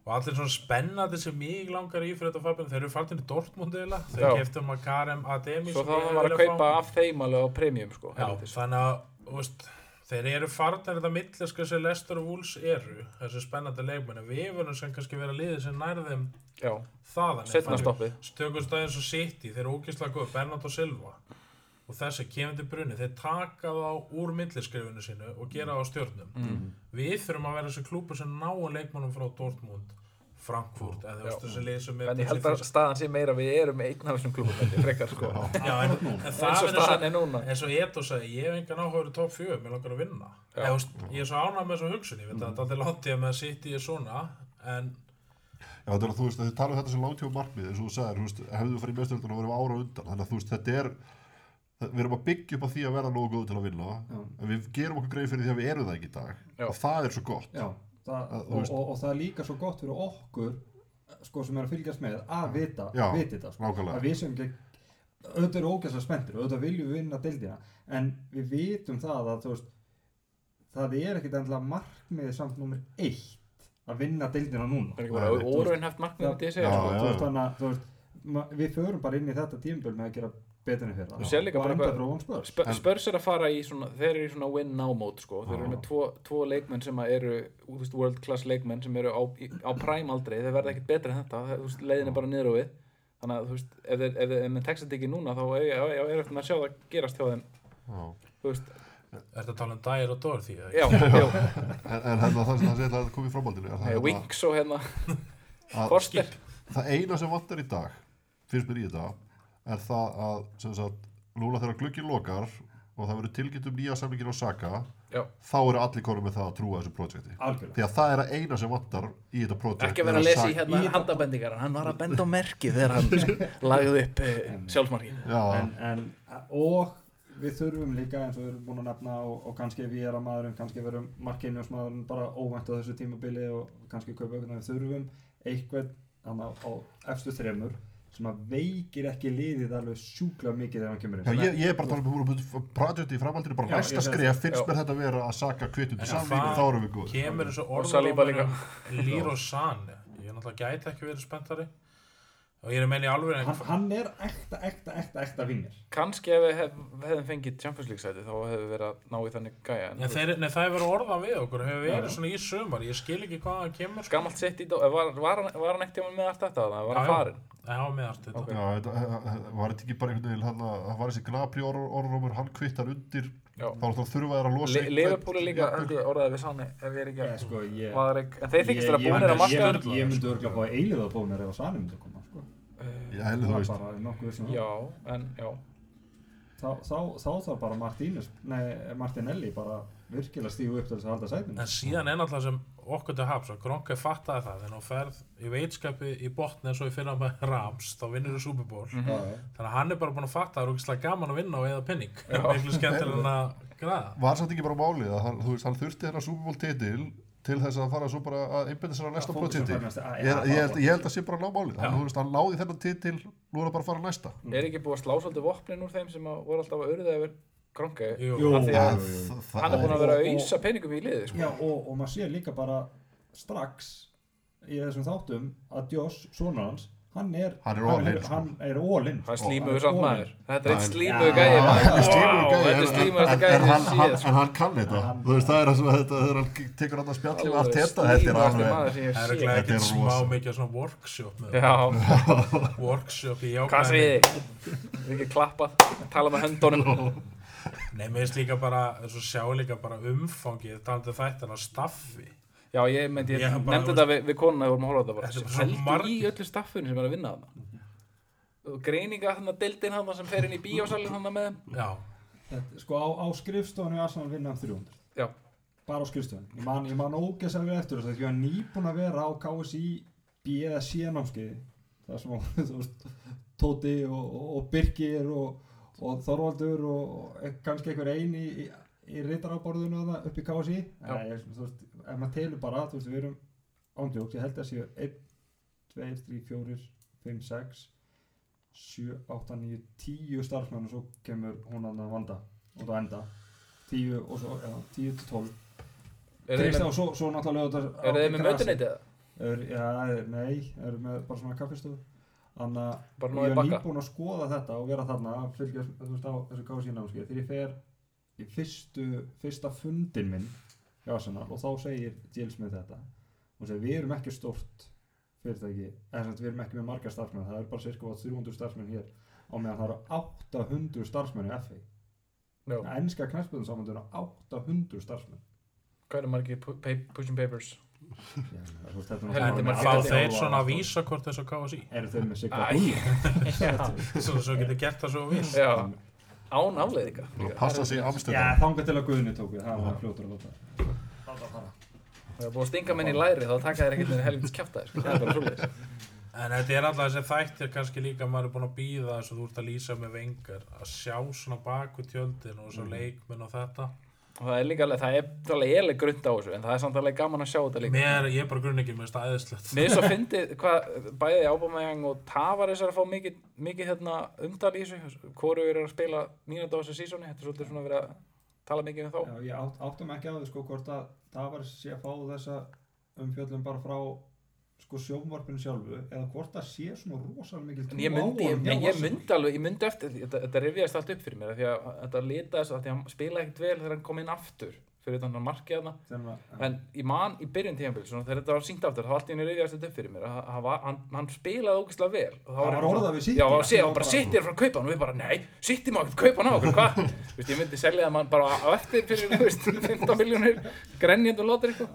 Speaker 4: og allir svona spennandi sem ég langar í fyrir þetta fabin þeir eru fartin í Dortmund eða þeir
Speaker 2: Já.
Speaker 4: keftum að Karem Ademi
Speaker 2: Svo
Speaker 4: sem
Speaker 2: þá
Speaker 4: ég
Speaker 2: það var að
Speaker 4: vilja
Speaker 2: kaupa
Speaker 4: fá.
Speaker 2: af þeim alveg á premium sko,
Speaker 4: Já,
Speaker 2: helvítis.
Speaker 4: þannig að þú veist, þeir eru farnir þetta milliska sem Lester og Wolves eru þessu spennandi leikmenni við verðum sem kannski vera liðið sem nærðum
Speaker 2: Já,
Speaker 4: þaðan ef
Speaker 2: setna
Speaker 4: hann-
Speaker 2: stoppið
Speaker 4: stökum staðins og City, þeir eru ógeðslega góð Bernardo Silva og þessi kemur til brunni, þeir taka þá úr milliskrifinu sínu og gera það á stjórnum
Speaker 2: Mhm.
Speaker 4: við þurfum að vera þessi klúpa sem náa leikmannum frá Dortmund Frankfurt, eða þú
Speaker 2: Já.
Speaker 4: veist þessi lið sem er
Speaker 2: En ég held að staðan sé meira að við erum einn af þessum klubum held ég, frekar sko
Speaker 4: Já, en, en
Speaker 2: eins
Speaker 4: það
Speaker 2: og
Speaker 4: er eins
Speaker 2: staðan
Speaker 4: og
Speaker 2: er núna
Speaker 4: eins og Edo sagði, ég hef engan áhugaður í top 4, mér langar að vinna
Speaker 2: Já. Mhm.
Speaker 4: eða, þú veist, ég er svo ánægð með þessu hugsun, ég veit að þetta er alltaf látt ég með að City er svona en
Speaker 3: já þannig að þú veist, þau tala um þetta sem langtjóð markmið eins og þú sagðir, þú veist, hefðu þú farið í mestöldun og verðum ára á undan, þannig að þú veist, þetta er það- við erum að byggja upp á því að vera nógu góð til að vinna, en við gerum okkur greið fyrir því að við erum það ekki í dag,
Speaker 2: Já.
Speaker 3: og það er svo gott
Speaker 1: Já, það,
Speaker 3: Að, þú
Speaker 1: og,
Speaker 3: veist-
Speaker 1: og, og það er líka svo gott fyrir okkur sko, sem er að fylgjast með að vita,
Speaker 3: Já,
Speaker 1: viti þetta sko.
Speaker 3: nákvæmlega.
Speaker 1: að við sem ekki auðvitað eru ógæslega spenntir og auðvitað viljum við vinna deildina en við vitum það að þú veist það er ekkit endla markmið samt nummer eitt að vinna deildina núna
Speaker 2: Það er ekki
Speaker 3: Já,
Speaker 2: bara
Speaker 3: þú-
Speaker 2: óraunhæft markmið þetta ég segja
Speaker 3: Já,
Speaker 2: sko.
Speaker 1: þú veist þannig að þú veist ma- við förum bara inn í þetta tímabil með að gera betur en fyrir
Speaker 2: Þú sér líka bara
Speaker 1: enda
Speaker 2: hvað-
Speaker 1: frá hún spörs
Speaker 2: Spö-
Speaker 3: En-
Speaker 2: Spurs er að fara í svona, þeir eru í svona win now mode sko, þeir eru
Speaker 3: Já.
Speaker 2: með tvo, tvo leikmenn sem að eru þú veist, world class leikmenn sem eru á, í- á prime aldrei, þeir verða ekkert betri en þetta þeir, þú veist, leiðin er bara niður og við þannig að þú veist, ef þeir, ef þeir ef með textat ekki núna þá er, er, er eftir maður að sjá það gerast hjá þeim
Speaker 3: Já.
Speaker 2: þú veist,
Speaker 4: Er þetta að tala um Dyer og Dorothy? eða ekki?
Speaker 2: já, já,
Speaker 3: En, en hérna, það, það sé að það komið í framhaldinu er það,
Speaker 2: já
Speaker 3: hérna,
Speaker 2: Winks og hérna
Speaker 3: að-
Speaker 2: Forster,
Speaker 3: það eina sem vantar í dag finnst mér í þetta er það að sem sagt, núna þegar glukkin lokar og það verður tilkynnt um nýja samlingin á Saka
Speaker 2: já,
Speaker 3: þá eru allir konum með það að trúa þessu projekti
Speaker 1: algjörlega
Speaker 3: því að það er að eina sem vantar í þetta projekt
Speaker 2: ekki vera að lesa í hérna
Speaker 1: Í-
Speaker 2: handabendingar hann var að benda á merki þegar hann lagði upp eh, sjálfsmarkið
Speaker 3: já,
Speaker 1: en, en, og við þurfum líka eins og við erum búin að nefna og, og kannski við erum maðurinn, kannski verum markinjósmaðurinn bara óvænt á þessu tímabili og kannski kaupa auðvitað við þurfum eitthvað hann á, á efstu þremur sem að veikir ekki liðið alveg sjúkla mikið þegar hann kemur
Speaker 3: Já,
Speaker 1: inn
Speaker 3: ég, ég er bara að tala um projekti í framhaldinu bara
Speaker 1: Já,
Speaker 3: næsta
Speaker 1: ég-
Speaker 3: skref finnst
Speaker 2: já.
Speaker 3: mér þetta að vera að Saka
Speaker 4: En
Speaker 3: kvittundi
Speaker 4: það
Speaker 3: samlingu þá erum við góð
Speaker 4: Kemur þessu
Speaker 2: Saliba
Speaker 4: orðum
Speaker 2: líka.
Speaker 4: um Lýr og San Ég er náttúrulega gæti ekki verið spenntari Og ég er að meina í alveg
Speaker 1: hann, hann er ekta, ekta, ekta, ekta vinnir
Speaker 2: kannski ef við hef, hefðum fengið Champions League sæti þá hefðum við verið að ná í þannig gæja en
Speaker 4: Nei,
Speaker 2: þú
Speaker 4: þeir, nei, það hefur orðað við okkur, hefur
Speaker 1: Já,
Speaker 4: verið
Speaker 1: já.
Speaker 4: svona í sumar, ég skil ekki hvað hann kemur sko.
Speaker 2: Gammalt sitt í dag, var, var, hann- var hann ekkert tíma með allt þetta þannig, var hann
Speaker 4: Já, já.
Speaker 2: farin?
Speaker 4: Nei, hann var með allt þetta.
Speaker 2: Ok.
Speaker 3: Já, þetta, eh, eh, var þetta ekki bara einhvern veginn hann að- það var þessi Gnabry orr- orrómur, hann kvittar undir
Speaker 2: Já.
Speaker 3: þá er það þurfa þær að losa
Speaker 2: Le
Speaker 3: einhvern-
Speaker 2: Leifupúli líka,
Speaker 3: jafnvel-
Speaker 2: held ég, orðaði við sanni ef ég er ekki
Speaker 1: Ég, sko, ég,
Speaker 2: var ekki, en þeir þykist þeirra
Speaker 1: ég,
Speaker 2: búinir að marka
Speaker 1: ég, ég myndi örgla að fá eilíða bónir ef að Sani myndi koma sko.
Speaker 3: Já, en þú
Speaker 1: það er
Speaker 3: veist,
Speaker 1: bara nokkuð sem
Speaker 2: Já, en já
Speaker 1: þá, þá, þá þarf bara Martínez, nei, Martinelli bara virkilega stígu upp til þess að halda sætinu
Speaker 4: En síðan er náttúrulega sem okkur til haps og Gronke fattaði það, þegar hann ferð í veitskapi í botni eins og í fyrra með Rams, þá vinnur þú Super Bowl.
Speaker 3: Mhm.
Speaker 2: Mhm.
Speaker 1: mm
Speaker 4: Þannig að hann er bara búin að fatta að það er ógeðslega gaman að vinna og eða penning. Miklu skemmtilega en að græða.
Speaker 3: var samt ekki bara málið að hann, þú veist, hann þurfti þennan Super Bowl titil til þess að fara svo bara að einbinda sér að næsta
Speaker 1: Að fókusa
Speaker 3: projekti
Speaker 1: á næsta- að-
Speaker 3: ég,
Speaker 1: já,
Speaker 3: ég,
Speaker 1: já,
Speaker 3: held- ég held að sé bara að ná málið hann,
Speaker 4: Já.
Speaker 3: þú veist, hann náði þennan titil, nú er það bara að fara að næsta
Speaker 2: er ekki búið að slá svolítið vopnin úr þeim sem að voru alltaf að urða yfir Gronke
Speaker 4: Jú,
Speaker 1: Jú.
Speaker 2: Af því
Speaker 1: Já,
Speaker 2: að
Speaker 1: já, já.
Speaker 3: Það-
Speaker 2: hann er búin að
Speaker 1: Og-
Speaker 2: vera að
Speaker 1: og-
Speaker 2: auðsa peningum í liðið sko.
Speaker 1: Já, og, og maður sér líka bara strax í þessum þáttum að Joss, sonur hans, hann er
Speaker 3: Hann er all in, sko.
Speaker 1: hann er all in
Speaker 2: það er
Speaker 1: sko.
Speaker 2: slímuðu samt
Speaker 1: all in.
Speaker 2: maður þetta er eitt
Speaker 3: Já,
Speaker 2: slímuðu
Speaker 1: já.
Speaker 2: gæði
Speaker 3: Já, þetta er slímugur
Speaker 2: Vá, þetta
Speaker 3: gæi,
Speaker 2: er
Speaker 3: en-
Speaker 2: slímuðu
Speaker 3: en- en
Speaker 2: gæði
Speaker 3: hann- hann-
Speaker 2: síðan
Speaker 3: en hann kann þetta þú veist, það er það sem þetta þegar hann tekur hann að spjalli og allt þetta þetta er alveg
Speaker 4: Það er
Speaker 2: alveg
Speaker 4: ekki
Speaker 3: Þetta er
Speaker 4: ekkert smá
Speaker 3: rosa.
Speaker 4: mikið svona workshop með það.
Speaker 2: já
Speaker 4: Workshop í jákvæðinni.
Speaker 2: Hvað segir þið? Við ekki klappað, tala með höndunum
Speaker 4: Nei, mér finnst líka bara, eins og sjá líka bara umfangið, talandi um þættina af staffi.
Speaker 2: Já, ég meinti, ég
Speaker 4: Ég hef bara-
Speaker 2: nefndi þetta við, við konuna þegar við vorum að horfa á þetta bara
Speaker 4: Þetta er bara svo
Speaker 2: Heldur í
Speaker 4: margir.
Speaker 2: öllu staffinu sem er að vinna þarna Og greininga þarna, deildin þarna sem fer inn í bíósalinn þarna með þeim
Speaker 4: Já,
Speaker 1: Þetta- Sko á, á skrifstofunni í Arsenal vinna um hann 300
Speaker 2: Já,
Speaker 1: bara á skrifstofunni, ég man, ég man ógeðslega vel eftir þess að ég var nýbúin að vera á KSI B eða C námskeiði það sem á, þú veist, Tóti og, og, og Birgir og, og Þorvaldur og, og kannski einhver ein í, í, í reytaráborðinu það upp í KSI
Speaker 2: Já.
Speaker 1: Nei, ég, þú veist, ef maður telur bara, þú veist, við erum ándjóks, ég held að séu 1, 2, 3, 4, 5, 6 7, 8, 9, 10 starfsmenn og svo kemur hún að vanda og það enda 10 og svo, já, 10 til 12
Speaker 2: eru þið
Speaker 1: Kristján
Speaker 2: með,
Speaker 1: og svo, svo náttúrulega auðvitað á-
Speaker 2: er þið
Speaker 1: í
Speaker 2: með
Speaker 1: grasi.
Speaker 2: mötuneytið?
Speaker 1: Eru- Já, er- nei, eru með bara svona kaffistofu Þannig að
Speaker 2: Bara
Speaker 1: ég
Speaker 2: náðu í
Speaker 1: var
Speaker 2: bakka
Speaker 1: nýbúinn að skoða þetta og vera þarna að fylgja þú veist á þessu kási námskeið þegar ég fer í fyrstu, fyrsta fundin minn í Arsenal og þá segir Jill Smith þetta og segir við erum ekki stort fyrirtæki eða sem sagt, við erum ekki með marga starfsmenn það er bara cirka 300 starfsmenn hér á meðan það eru 800 starfsmenn í FA
Speaker 2: Já,
Speaker 1: Ennska knæspöðum samanduna 800 starfsmenn
Speaker 2: hvað eru margir pu- pa- pushing papers?
Speaker 1: Já, Hérna, þú veist, þetta er
Speaker 2: Helviti
Speaker 1: náttúrulega-
Speaker 2: margir
Speaker 4: fá
Speaker 2: Þetta er
Speaker 4: þeir svona vísakort eins og KSI.
Speaker 1: eru þeir með sig
Speaker 2: Æ. Já,
Speaker 4: Svo svo getur gert það svo viss.
Speaker 2: já, án afleiðinga
Speaker 3: Bara passa sig í
Speaker 1: já,
Speaker 3: Amsterdam
Speaker 1: þangað til að Guðni tók við það var fljótur að láta
Speaker 2: Það er búið að stinga menn í læri þá taka þér ekkert með helvins kjafta þér sko. Það er bara svolítið
Speaker 4: En þetta er alltaf þessi þættir kannski líka maður er búin að býða
Speaker 2: Mm.
Speaker 4: þess að þú ert að lýsa með vengar að sjá svona baku tjöldin og svo leikmenn og þetta
Speaker 2: Og það er líka alveg, það er alveg ég er alveg grunnt á þessu en það er samt alveg gaman að sjá þetta líka
Speaker 4: Mér, ég er bara grunn ekki með staðiðslegt
Speaker 2: Mér er svo fyndið hvað bæði Ábameyang og Tavares er að fá mikið, mikið hérna, umdal í þessu Hvoru er að spila mínúti á þessu sísóni Þetta er svolítið svona verið að tala mikið um þá
Speaker 1: Já, ég átt, áttum ekki að þau sko hvort að það var sé að fá þessa umfjöllum bara frá sko sjónvarpinu sjálfu eða hvort það sé svona rosalega mikil
Speaker 2: En ég myndi, ég, ég, ég myndi alveg, ég myndi eftir því, þetta, þetta rifjaðist allt upp fyrir mér af því að þetta litaðist af því að hann spilaði ekkert vel þegar hann kom inn aftur fyrir þannig að markið hana
Speaker 1: myndi
Speaker 2: en ég man í byrjun tíðanbíl svona þegar þetta var sínt aftur þá allt í henni rifjaðist þetta upp fyrir mér að að hann, var- hann, hann spilaði ógeðslega vel og þá
Speaker 1: Það var orðað við City.
Speaker 2: já, og sé, hann bara sittir frá kaupan og við bara nei, sittir maður ekki kaupan á okkur hvað Þú veist, ég myndi selja það mann bara á eftir fyrir þú veist, 15 miljónir grenjandi sko. og látur eitthvað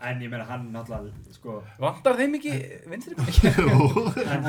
Speaker 1: En ég meina hann náttúrulega sko,
Speaker 2: vantar þeim ekki vinstri mikið
Speaker 1: hann,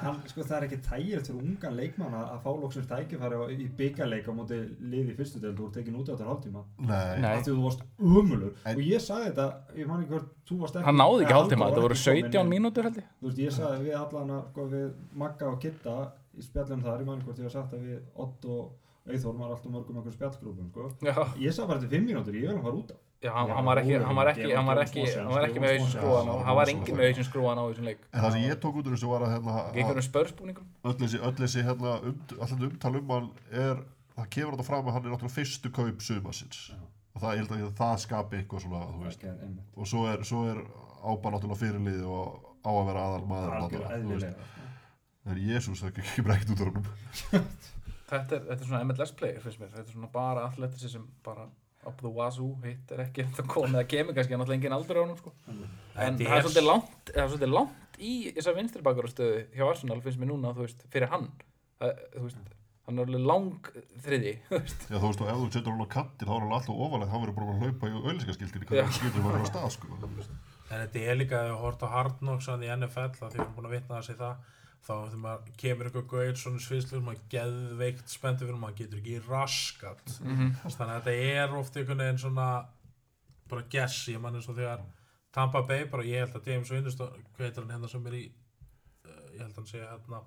Speaker 1: hann, sko það er ekki tægilegt fyrir ungan leikmann að, að fá lóksins tækifæri á- í byggarleik á móti liði í fyrstu deild og tekin út á þetta hálftíma
Speaker 3: Nei,
Speaker 1: af því að þú varst umulur og ég sagði þetta, ég man ekki hvort þú varst ekki
Speaker 2: hann náði ekki
Speaker 1: Halldór
Speaker 2: hálftíma,
Speaker 1: var
Speaker 2: þetta voru
Speaker 1: ekki kominn
Speaker 2: 17
Speaker 1: inn.
Speaker 2: mínútur held ég
Speaker 1: þú veist, ég sagði við allan að sko, við Magga og Kitta í spjallum þar, ég man ekki hvort ég var sagt að við Ott og Eithor var alltaf mörgum einhverjum spjallgrúpum, sko.
Speaker 2: já,
Speaker 1: Ég sagði bara þetta er fimm mínútur, ég vil að fara út á.
Speaker 2: já hann, hann var ekki hann var ekki, hann var ekki, hann var ekki með hausinn skrúan á- hann var engin með hausinn skrúan á þessum leik
Speaker 3: en það sem ég tók út úr þessu var að hérna,
Speaker 2: Í
Speaker 3: að
Speaker 2: einhverjum spörsbúningum
Speaker 3: öll þessi, öll þessi hérna, um, alltaf umtal um hann er, það kemur þetta fram að hann er náttúrulega fyrstu kaup sumasins
Speaker 1: Já.
Speaker 3: og það, ég held að það skapi eitthvað svona, þú veist,
Speaker 1: Ekki, einmitt.
Speaker 3: og svo er, svo er ába náttúrulega fyrirlið og á að vera aðal maður
Speaker 1: Algjör eðlilega. sko.
Speaker 3: en Jésús, það kemur ekkert út úr honum
Speaker 2: þetta er, þetta er svona MLS player finnst mér þetta er svona bara atletisi sem bara up the wazoo, hitt er ekki þetta komið að kemur kannski, hann alltaf engin aldur á honum sko. en
Speaker 4: Þetta
Speaker 2: það er
Speaker 4: er-
Speaker 2: svolítið langt, það er svolítið langt í þessa vinstri bakarastöðu hjá Arsenal finnst mér núna, þú veist, fyrir hann það, þú veist, hann er alveg lang þriði, þú veist,
Speaker 3: Já, þú veist, og ef þú setur hann á kattin, þá er hann alltaf ofalega, þá verður bara að hlaupa í auðlýsingaskildinni,
Speaker 2: Já.
Speaker 3: hvernig skildur maður á stað, sko.
Speaker 4: En þetta er líka að horta á Hard Knocks að í NFL að því við erum búin að vitna þessi það þá þegar maður kemur eitthvað gauð svona svislur maður geðveikt spenntur fyrir maður getur ekki raskat þannig að þetta er oft einhvern veginn svona bara guess ég mann eins og
Speaker 3: Mm.
Speaker 4: þegar Tampa Bay bara ég held að James Winnestone hvað heitir hann hérna sem er í uh, ég held að hann segja hérna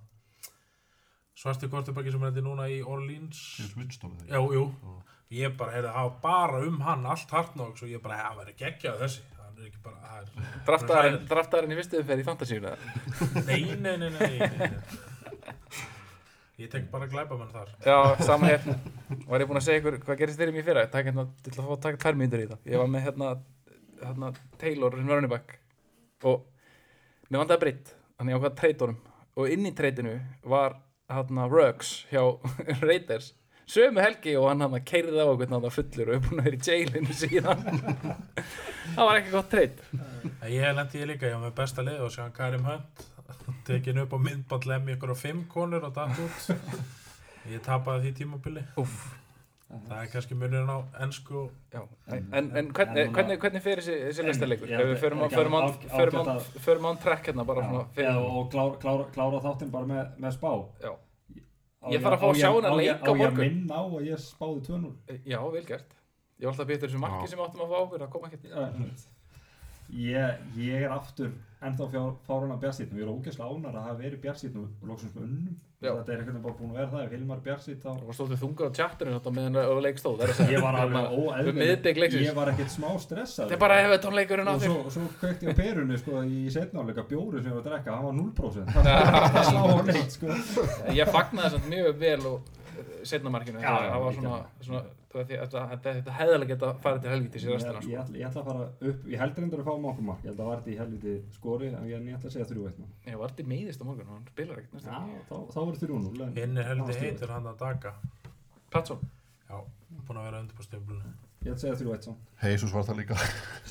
Speaker 4: svarti kortibaki sem er hérna núna í Orleans
Speaker 3: James Winston, eða
Speaker 4: Jú, jú, ég bara heyrði það var bara um hann allt hart nokk svo ég bara, það verður geggjað þessi hann er ekki bara, það er
Speaker 2: draftaðarinn draftaðarinn í vistuðum fyrir í fantasíuna
Speaker 4: Nei, nei, nei, nei, nei, nei. Ég tek bara glæbamenn þar
Speaker 2: já, sama hér, var ég búinn að segja ykkur hvað gerist þeirri mér fyrir, takk hérna til að fá að taka tvær myndur í það, ég var með hérna, hérna Taylor, hinn running back og mér vandaði breytt þannig ég ákvað að treyta honum og inn í treytinu var hérna Ruggs hjá Raiders sömu helgi og hann hann keirði á okkur hann fullur og er búin að vera í jailinu síðan það var ekki gott treyt
Speaker 4: En Ég lendi ég líka, ég var með besta lið og séðan Karim Hunt tekin upp á myndband lemmi ykkur á fimm konur og datt út Ég tapaði því tímabili
Speaker 2: Úff.
Speaker 4: Það er kannski munurinn á ennsku og-
Speaker 2: Já, en, en, en hvernig, hvernig, hvernig fer þessi, þessi
Speaker 1: En,
Speaker 2: listaleikur?
Speaker 1: já,
Speaker 2: Ef við förum á-
Speaker 1: ekki
Speaker 2: förum á-
Speaker 1: ágætt að-
Speaker 2: förum á- förum án track hérna bara svona
Speaker 1: Já,
Speaker 2: fyrir,
Speaker 1: og klára, klára, klára þáttinn bara með, með spá.
Speaker 2: já,
Speaker 1: Á
Speaker 2: Ég þarf að fá
Speaker 1: á
Speaker 2: að sjá
Speaker 1: á
Speaker 2: hana
Speaker 1: ég-
Speaker 2: leika á
Speaker 1: Á ég að
Speaker 2: morgun.
Speaker 1: minna á að ég spáði 2-0.
Speaker 2: Eh, já, vel gert Ég var alltaf að býta þessu marki
Speaker 3: Já.
Speaker 2: sem við áttum að fá okkur, það kom ekki
Speaker 1: Já, einmitt. Ég, ég er aftur ennþá fárun af bjarsýtnum, ég er ógeðslega ánar að hafa verið bjarsýtnum og loksins með unnum
Speaker 2: Já.
Speaker 1: þetta er eitthvað bara búin að vera það, ef Hilmar bjarsýt þá
Speaker 2: Það var stóttu þungar á tjatturinn þetta meðan að leik stóð það er að segja.
Speaker 1: ég var alveg
Speaker 2: Þarna, Við
Speaker 1: óæðileg
Speaker 2: miðbygg leiksins
Speaker 1: ég var ekkert smá stressað
Speaker 2: Þetta er bara ef þetta leikurinn á
Speaker 1: og
Speaker 2: þér
Speaker 1: svo, svo kvekti ég á perunni sko, í setna áleika bjóri sem ég var að drekka, hann var 0% það slá á neitt sko.
Speaker 2: Ég fagnaði samt mjög vel og setna markinu
Speaker 1: Já, já,
Speaker 2: Það var
Speaker 1: ég
Speaker 2: svona,
Speaker 1: gerði
Speaker 2: svona það var því- þetta, þetta, þetta hefðalega geta farið til helvítis í
Speaker 1: ég,
Speaker 2: restina
Speaker 1: ég,
Speaker 2: sko.
Speaker 1: ætla, ég ætla að fara upp ég heldur endur að fá okkur mark, ég held að var þetta í helviti skori en ég, en ég ætla að segja 3-1 nú.
Speaker 2: Ég var alltaf meiðist á morgun, hann spilar ekkert næsta
Speaker 1: Já,
Speaker 2: leik.
Speaker 1: þá, þá voru 3-0 en-
Speaker 4: hinn er heldur
Speaker 1: Já, stígur.
Speaker 4: heitur hann að daga
Speaker 2: Patsson
Speaker 4: Já, búin að vera undir på stöflunum
Speaker 1: ég ætla að segja 3-1 samt.
Speaker 3: Jésús var það líka.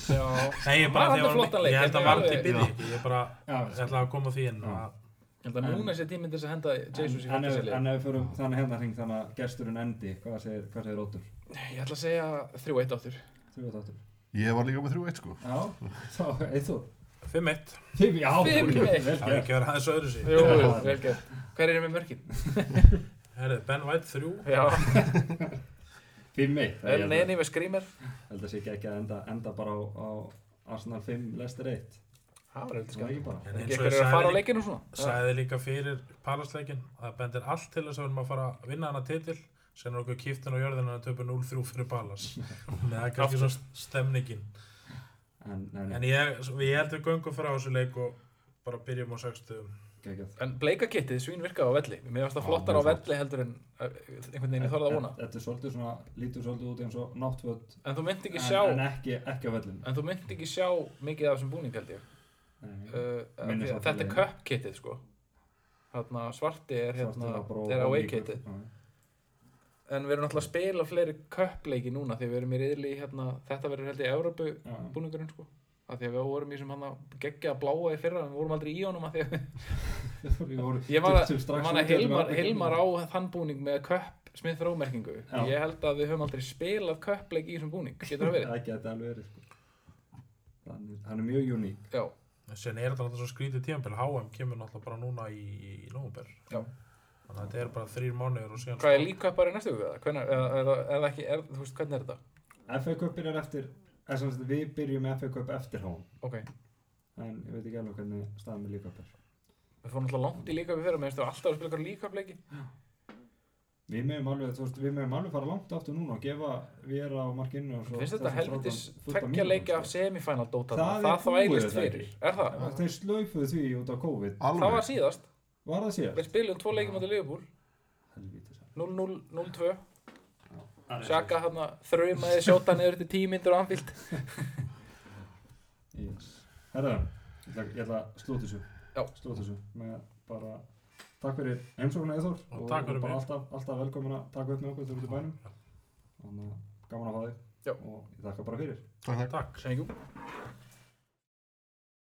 Speaker 2: Já,
Speaker 4: Nei, ég
Speaker 2: Hann
Speaker 4: bara,
Speaker 2: var
Speaker 4: því að
Speaker 2: með flottan leik,
Speaker 4: ég held
Speaker 2: þetta er
Speaker 4: að varti
Speaker 2: alveg-
Speaker 4: byrði ekki Ég bara,
Speaker 1: Já,
Speaker 4: ég ætla að koma því inn að
Speaker 2: Ég held að
Speaker 1: En-
Speaker 2: núna sé tíminn til þess að henda Jesus í
Speaker 1: En- en ef-
Speaker 2: fantasy-lið.
Speaker 1: En ef við förum þannig hérna hring þannig að gesturinn endi, hvað segir, hvað segir Óttur?
Speaker 2: Ég ætla að segja 3-1 áttur.
Speaker 1: Þú veit Óttur.
Speaker 3: Ég var líka með 3-1, sko.
Speaker 1: Já, þá, Eithor.
Speaker 4: 5-1
Speaker 1: Fimm, já,
Speaker 2: Fimm
Speaker 1: vel
Speaker 2: eitt.
Speaker 1: gert.
Speaker 4: Það er ekki að vera aðeins öðru sig
Speaker 2: Jú, vel gert. Hver er með mörkin?
Speaker 4: Herrið, Ben White 3
Speaker 2: Já,
Speaker 1: Fimm eitt. Það er-
Speaker 2: El Neni með skrýmer.
Speaker 1: Held að sé ekki að enda, enda bara á, á Arsenal 5, Leicester 1.
Speaker 2: Það var eitthvað
Speaker 1: Það er ekki
Speaker 2: skemmt.
Speaker 1: bara.
Speaker 4: En eins
Speaker 2: Ekkur
Speaker 4: og ég
Speaker 2: er að
Speaker 4: sagði
Speaker 2: fara á
Speaker 4: líka-
Speaker 2: leikinu og svona.
Speaker 4: sagði líka fyrir Palace-leikin að bendir allt til þess að við erum að fara að vinna hana titil sen er okkur kýftin á jörðina að töpu 0-3 fyrir Ballas með það er kannski svo stemningin
Speaker 1: en nei,
Speaker 2: Mm.
Speaker 4: en ég, ég held við göngum frá þessu leik og bara byrjum á 60
Speaker 1: geggjað
Speaker 2: En bleikakittið svín virkaði á velli Mér varst það
Speaker 3: Já,
Speaker 2: flottar á
Speaker 3: mjög flott.
Speaker 2: velli heldur en uh, einhvern veginn ég þorði að vona
Speaker 1: Þetta er svolítið svona, lítur svolítið út eins og náttföt
Speaker 2: En þú myndi ekki
Speaker 1: en,
Speaker 2: sjá
Speaker 1: en ekki, ekki á vellinu
Speaker 2: En þú myndi ekki sjá mikið af þessum búning held ég
Speaker 1: Nei,
Speaker 2: uh, af
Speaker 1: Minni
Speaker 2: því
Speaker 1: samt
Speaker 2: að Þetta
Speaker 1: alveg.
Speaker 2: er köpkittið sko Þarna svarti er hérna
Speaker 1: svartur á bró
Speaker 2: er
Speaker 1: og
Speaker 2: away
Speaker 1: líkur.
Speaker 2: kitið
Speaker 1: Já,
Speaker 2: En við erum náttúrulega að spila fleiri köppleiki núna því við erum í riðli í, hérna, þetta verður held ég Európu
Speaker 1: já.
Speaker 2: búningurinn sko af því að við vorum í sem hann að geggja að bláa í fyrra en við vorum aldrei í honum að því að
Speaker 1: Ég voru-
Speaker 2: Ég man að,
Speaker 1: duttum strax
Speaker 2: man
Speaker 1: út
Speaker 2: að
Speaker 1: í
Speaker 2: Hilmar,
Speaker 1: þetta með
Speaker 2: Hilmar á
Speaker 1: Arnbjörn.
Speaker 2: þann búning með köpp smið þrómerkingu
Speaker 1: Já.
Speaker 2: ég held að við höfum aldrei spilað köppleik í þessum búning getur það verið?
Speaker 1: Það geti alveg verið sko. Hann er- Hann er mjög uník
Speaker 2: Já,
Speaker 4: sen er þetta náttúrulega svo skrítið tímpil HM kemur náttúrulega bara núna í, í nómber
Speaker 2: Já.
Speaker 4: þannig að þetta er bara þrýr mánuður og síðan sko-
Speaker 2: hvað er líköppar í næstu viku? eða? Hvenær- eða- eða- eða ekki, er, þú veist, hvernig er þetta?
Speaker 1: FA Cup byrjar eftir eða sem sagt, Við byrjum með FA Cup eftir hón
Speaker 2: Ok,
Speaker 1: En ég veit ekki alveg hvernig staðan með líka upp er
Speaker 2: við fórum alltaf langt í líköppi fyrra, mér finnst við alltaf að spila eitthvað líköppleiki
Speaker 1: Við meðum alveg, þú veist, við meðum alveg fara langt aftur núna og gefa við á markinu og svo
Speaker 2: finnst þetta
Speaker 1: þessum strákum
Speaker 2: helvitis
Speaker 1: fullt af
Speaker 2: tveggja
Speaker 1: mínútum,
Speaker 2: leiki
Speaker 1: sko.
Speaker 2: af semifænal dóta
Speaker 1: Það
Speaker 2: það,
Speaker 1: er
Speaker 2: það
Speaker 1: búið,
Speaker 2: þvælist
Speaker 1: það
Speaker 2: fyrir, er það?
Speaker 1: Já, Þeir slöyfuðu því út af COVID
Speaker 2: Það var
Speaker 3: alveg,
Speaker 2: síðast,
Speaker 1: Var það síðan?
Speaker 2: við spilum tvo leiki mútið Liverpool
Speaker 1: Helvítis
Speaker 2: 0-0, 0-2
Speaker 1: Já.
Speaker 2: Sjaka hann að þraumaði sjóta neður til tímyndur og anfíld
Speaker 1: yes. Herra, ég ætla, ég ætla að slúta þessu
Speaker 2: Já.
Speaker 1: Slúta þessu með bara Takk fyrir heimsóknu Eithor
Speaker 4: Og takk fyrir
Speaker 1: bara
Speaker 4: mig.
Speaker 1: alltaf, alltaf velkomin að taka upp með okkur þegar við erum í bænum Þannig að gaman að hafa þig
Speaker 2: Já.
Speaker 1: Og ég þakka bara fyrir
Speaker 3: takk takk
Speaker 4: takk
Speaker 2: Sengjum